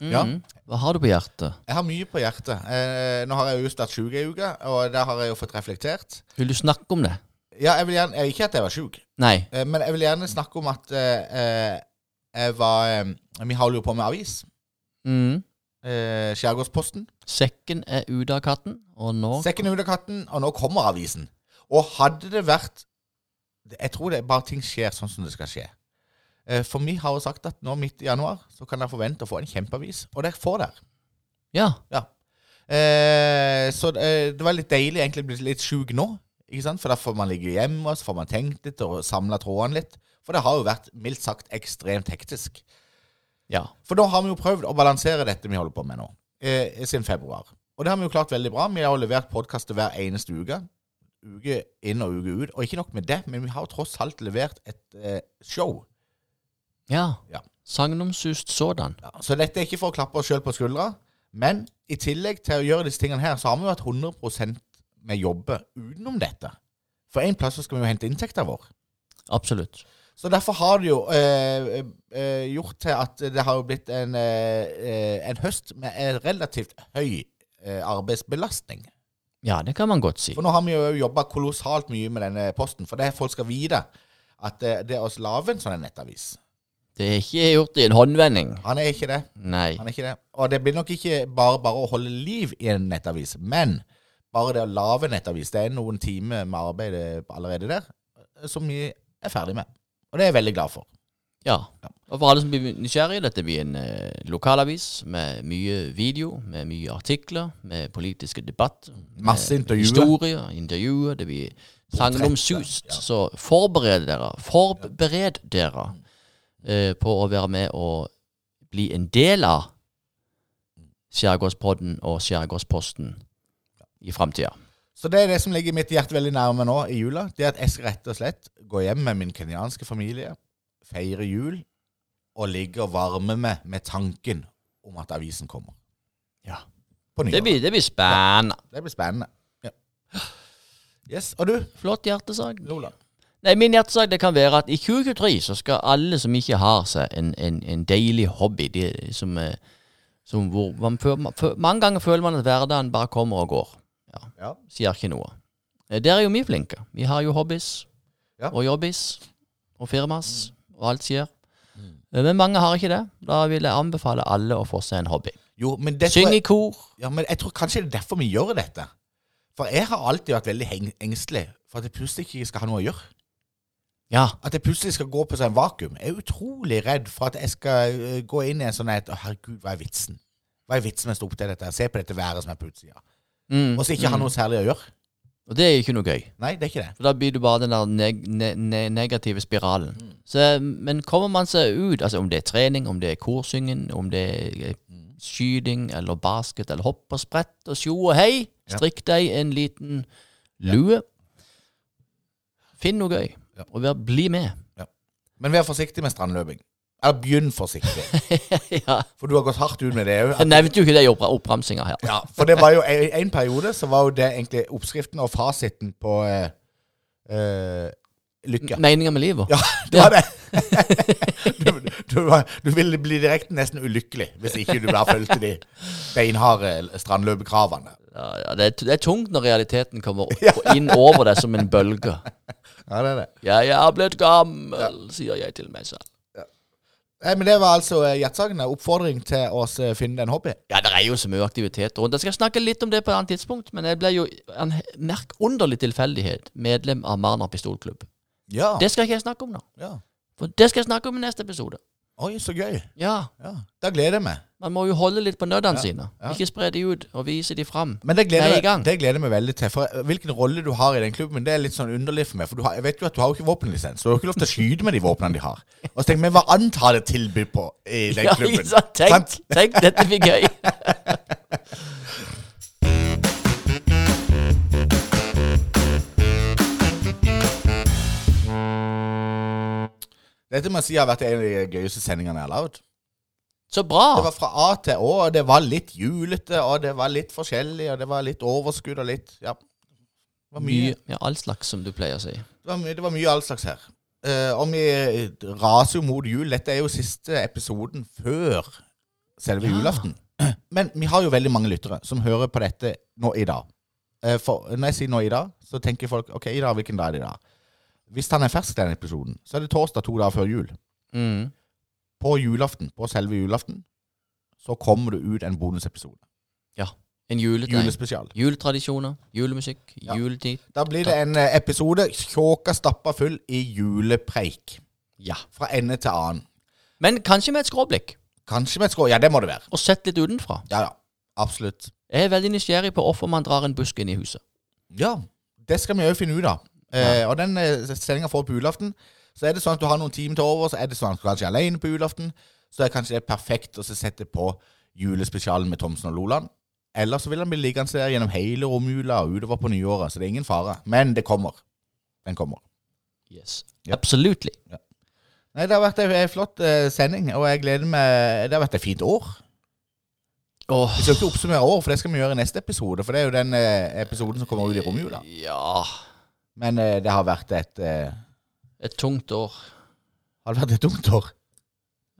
Ja.
Hva har du på hjertet?
Jeg har mye på hjertet. Eh, nå har jeg jo vært sjuk ei uke, og der har jeg jo fått reflektert.
Vil du snakke om det?
Ja, jeg vil gjerne, eh, Ikke at jeg var sjuk,
Nei.
eh, men jeg vil gjerne snakke om at eh, eh, jeg var eh, Vi holder jo på med avis.
Mm.
Eh, Skjærgårdsposten.
Sekken er ute av katten, og nå
Sekken er ute av katten, og nå kommer avisen. Og hadde det vært Jeg tror det er bare ting skjer sånn som det skal skje. Eh, For vi har jo sagt at nå midt i januar så kan dere forvente å få en kjempeavis, og dere får der.
Ja.
Ja. Eh, så eh, det var litt deilig egentlig å bli litt sjuk nå, ikke sant? for da får man ligge hjemme og så får man tenkt litt og samla trådene litt. For det har jo vært mildt sagt ekstremt hektisk.
Ja.
For da har vi jo prøvd å balansere dette vi holder på med nå, eh, siden februar. Og det har vi jo klart veldig bra. Vi har jo levert podkaster hver eneste uke. Uke inn og uke ut. Og ikke nok med det, men vi har jo tross alt levert et eh, show.
ja.
Ja.
Sagnomsust sådan.
Ja, så dette er ikke for å klappe oss sjøl på skuldra, men i tillegg til å gjøre disse tingene her, så har vi jo hatt 100 med jobber utenom dette. For en plass så skal vi jo hente inntekten vår.
Absolutt.
Så derfor har det jo eh, eh, gjort til at det har jo blitt en, eh, eh, en høst med en relativt høy eh, arbeidsbelastning.
Ja, det kan man godt si.
For nå har vi jo jobba kolossalt mye med denne posten, for det folk skal vite, at eh, det, det å lage en sånn nettavis
Det er ikke gjort i en håndvending.
Han er ikke det.
Nei.
Han er ikke det. Og det blir nok ikke bare bare å holde liv i en nettavis, men bare det å lage en nettavis. Det er noen timer med arbeid allerede der som vi er ferdig med. Og det er jeg veldig glad for.
Ja. Og for alle som blir nysgjerrige, dette blir en eh, lokalavis med mye video, med mye artikler, med politiske debatter. med
Masse intervjuer.
Historier, intervjuer. Det blir sangen om sust. Så forbered dere. Forbered dere eh, på å være med og bli en del av Skjærgårdspodden og Skjærgårdsposten i framtida.
Så det er det som ligger mitt hjerte veldig nærme nå i jula. Det er at jeg skal rett og slett gå hjem med min kenyanske familie, feire jul og ligge og varme meg med tanken om at avisen kommer.
Ja.
På nyåret.
Det blir, det blir spennende.
det blir spennende. Ja. Yes. Og du,
Flott hjertesak.
Lola?
Nei, min hjertesak det kan være at i 2023 så skal alle som ikke har seg en, en, en deilig hobby de, som, eh, som hvor man føler, man føler, Mange ganger føler man at hverdagen bare kommer og går. Ja,
Ja.
Sier ikke noe. Eh, Der er jo vi flinke. Vi har jo hobbies
Ja. Mm.
og jobbis og firmas og alt skjer. Eh, Men mange har ikke det. Da vil jeg anbefale alle å få seg en hobby.
Jo, men det tror
Syng
jeg-
i kor.
Ja, men jeg tror kanskje det er derfor vi gjør dette. For jeg har alltid vært veldig heng engstelig for at jeg plutselig ikke skal ha noe å gjøre.
Ja.
At jeg plutselig skal gå på sånn vakuum. Jeg er utrolig redd for at jeg skal øh, gå inn i en sånn et Å, herregud, hva er vitsen? Hva er vitsen med å stå opp til dette? her? Se på dette været som er på utsida.
Mm.
Og så ikke ha noe særlig å gjøre.
Og det er jo ikke noe gøy.
Nei, det er ikke det.
For da blir du bare den der neg ne ne negative spiralen.
Mm.
Så, men kommer man seg ut, altså om det er trening, om det er korsynging, om det er eh, skyting eller basket eller hopp og sprett og tjo og hei, strikk deg en liten lue. Finn noe gøy,
Ja.
og vær, bli med.
Men vær forsiktig med strandløping. Eller begynn forsiktig.
ja.
For du har gått hardt ut med det òg.
Jeg nevnte jo ikke det i oppra- oppramsinga her.
Ja, for det var jo en, en periode så var jo det egentlig oppskriften og fasiten på eh, eh, lykke.
Meninga med livet.
Ja, det var det. Du, du, var- du ville bli direkte nesten ulykkelig hvis ikke du bare fulgte de beinharde strandløpekravene.
Ja, ja, det, er, t- det er tungt når realiteten kommer o- inn over deg som en bølge.
Ja, det er det.
Jeg er blitt gammel, sier jeg til meg selv.
Nei, men det var altså eh, hjertesakene. Oppfordring til å eh, finne en hobby.
Ja, det er jo så mye aktivitet rundt. Jeg skal snakke litt om det på et annet tidspunkt, men jeg ble jo en he- merkunderlig tilfeldighet medlem av Marner pistolklubb.
Ja.
Det skal ikke jeg snakke om nå,
ja.
for det skal jeg snakke om i neste episode.
Oi, så gøy.
Ja,
Ja, Da gleder jeg meg.
man må jo holde litt på nøddene sine.
ja.
Ikke spre de ut, og vise de fram.
Men det gleder,
Med en
jeg,
gang.
det gleder jeg meg veldig til. For eh, Hvilken rolle du har i den klubben, det er litt sånn underlig for meg. For du har, jeg vet jo at du har jo ikke våpenlisens. Du har jo ikke lov til å skyte med de våpnene de har. Og så tenker jeg, hva annet har det tilbud på i den
Ja,
klubben?
ikke sant? tenk,
Sant?
tenk, dette blir gøy.
Dette må jeg si har vært en av de gøyeste sendingene jeg har lagd.
Så bra.
Det var fra A til Å, og det var litt julete, og det var litt forskjellig, og det var litt overskudd og litt Ja. Det var mye.
Mye, ja, all slags, som du pleier å si.
Det var, mye- det var mye all slags her. Eh, og vi raser jo mot jul. Dette er jo siste episoden før selve
Ja.
julaften. Men vi har jo veldig mange lyttere som hører på dette nå i dag. Eh, for når jeg sier nå i dag, så tenker folk OK, i dag, hvilken dag er det i dag? Hvis han er fersk, den episoden, så er det torsdag to dager før jul.
Mm.
På julaften, på selve julaften, så kommer det ut en bonusepisode.
En juletegn.
Julespesial.
Juletradisjoner, julemusikk, juletid.
Da blir det en eh, episode tjåka stappa full i julepreik.
Ja.
Fra ende til annen.
Men kanskje med et skråblikk,
Kanskje med et skår. Ja, det må det være.
og sett litt utenfra.
Ja, ja. Absolutt.
Jeg er veldig nysgjerrig på hvorfor man drar en busk inn i huset.
Ja, det skal vi òg finne ut av. Eh, og den eh, sendinga får på julaften. Så er det sånn at du har noen timer til over, så er det sånn at du kanskje er alene på julaften. Så er kanskje det perfekt å så sette på julespesialen med Thomsen og Loland. Eller så vil han bli liggende der gjennom hele romjula og utover på nyåret, så det er ingen fare. Men det kommer. Den kommer.
Yes.
Ja.
Absolutely.
Nei, det har vært ei flott eh, sending, og jeg gleder meg Det har vært et fint år.
Åh,
Vi skal ikke oppsummere år, for det skal vi gjøre i neste episode. For det er jo den eh, episoden som kommer ut i romjula.
ja
Men eh, det har vært et eh,
Et tungt år.
Har det vært et tungt år?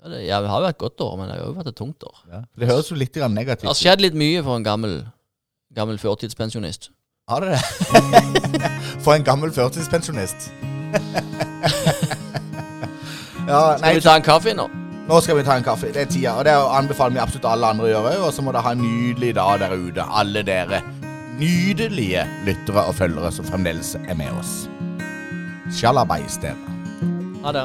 Ja, det, ja, det har jo vært et godt år, men det har jo vært et tungt år.
Det høres jo litt grann
Det har
negativt ut.
skjedd litt mye for en gammel, gammel førtidspensjonist.
Har det det? For en gammel førtidspensjonist. ja, nei,
Skal vi ta en kaffe nå?
nå skal vi ta en kaffe. Det er tida. Og det anbefaler vi absolutt alle andre å gjøre òg. Og så må dere ha en nydelig dag der ute, alle dere nydelige lyttere og følgere som fremdeles er med oss. Sjalabais, dere.
Ha det.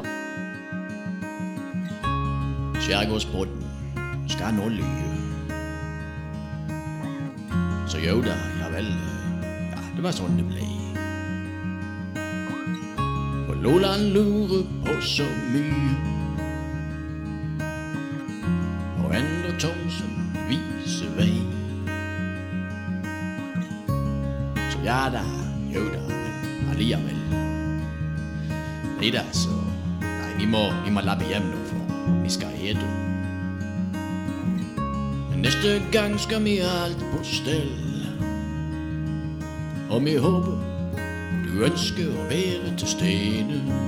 Skjærgårdsbåten skal nå lyve. Så jo da, ja vel. Ja, det var sånn det ble. Og Loland lurer på så mye. Og enda Thomsen viser vei. Så ja da, jo da, men alliavel. Nei da, så Nei, vi må, vi må lappe hjem nå, for vi skal ete. Men Neste gang skal vi ha alt på stell. Og vi håper du ønsker å være til stede.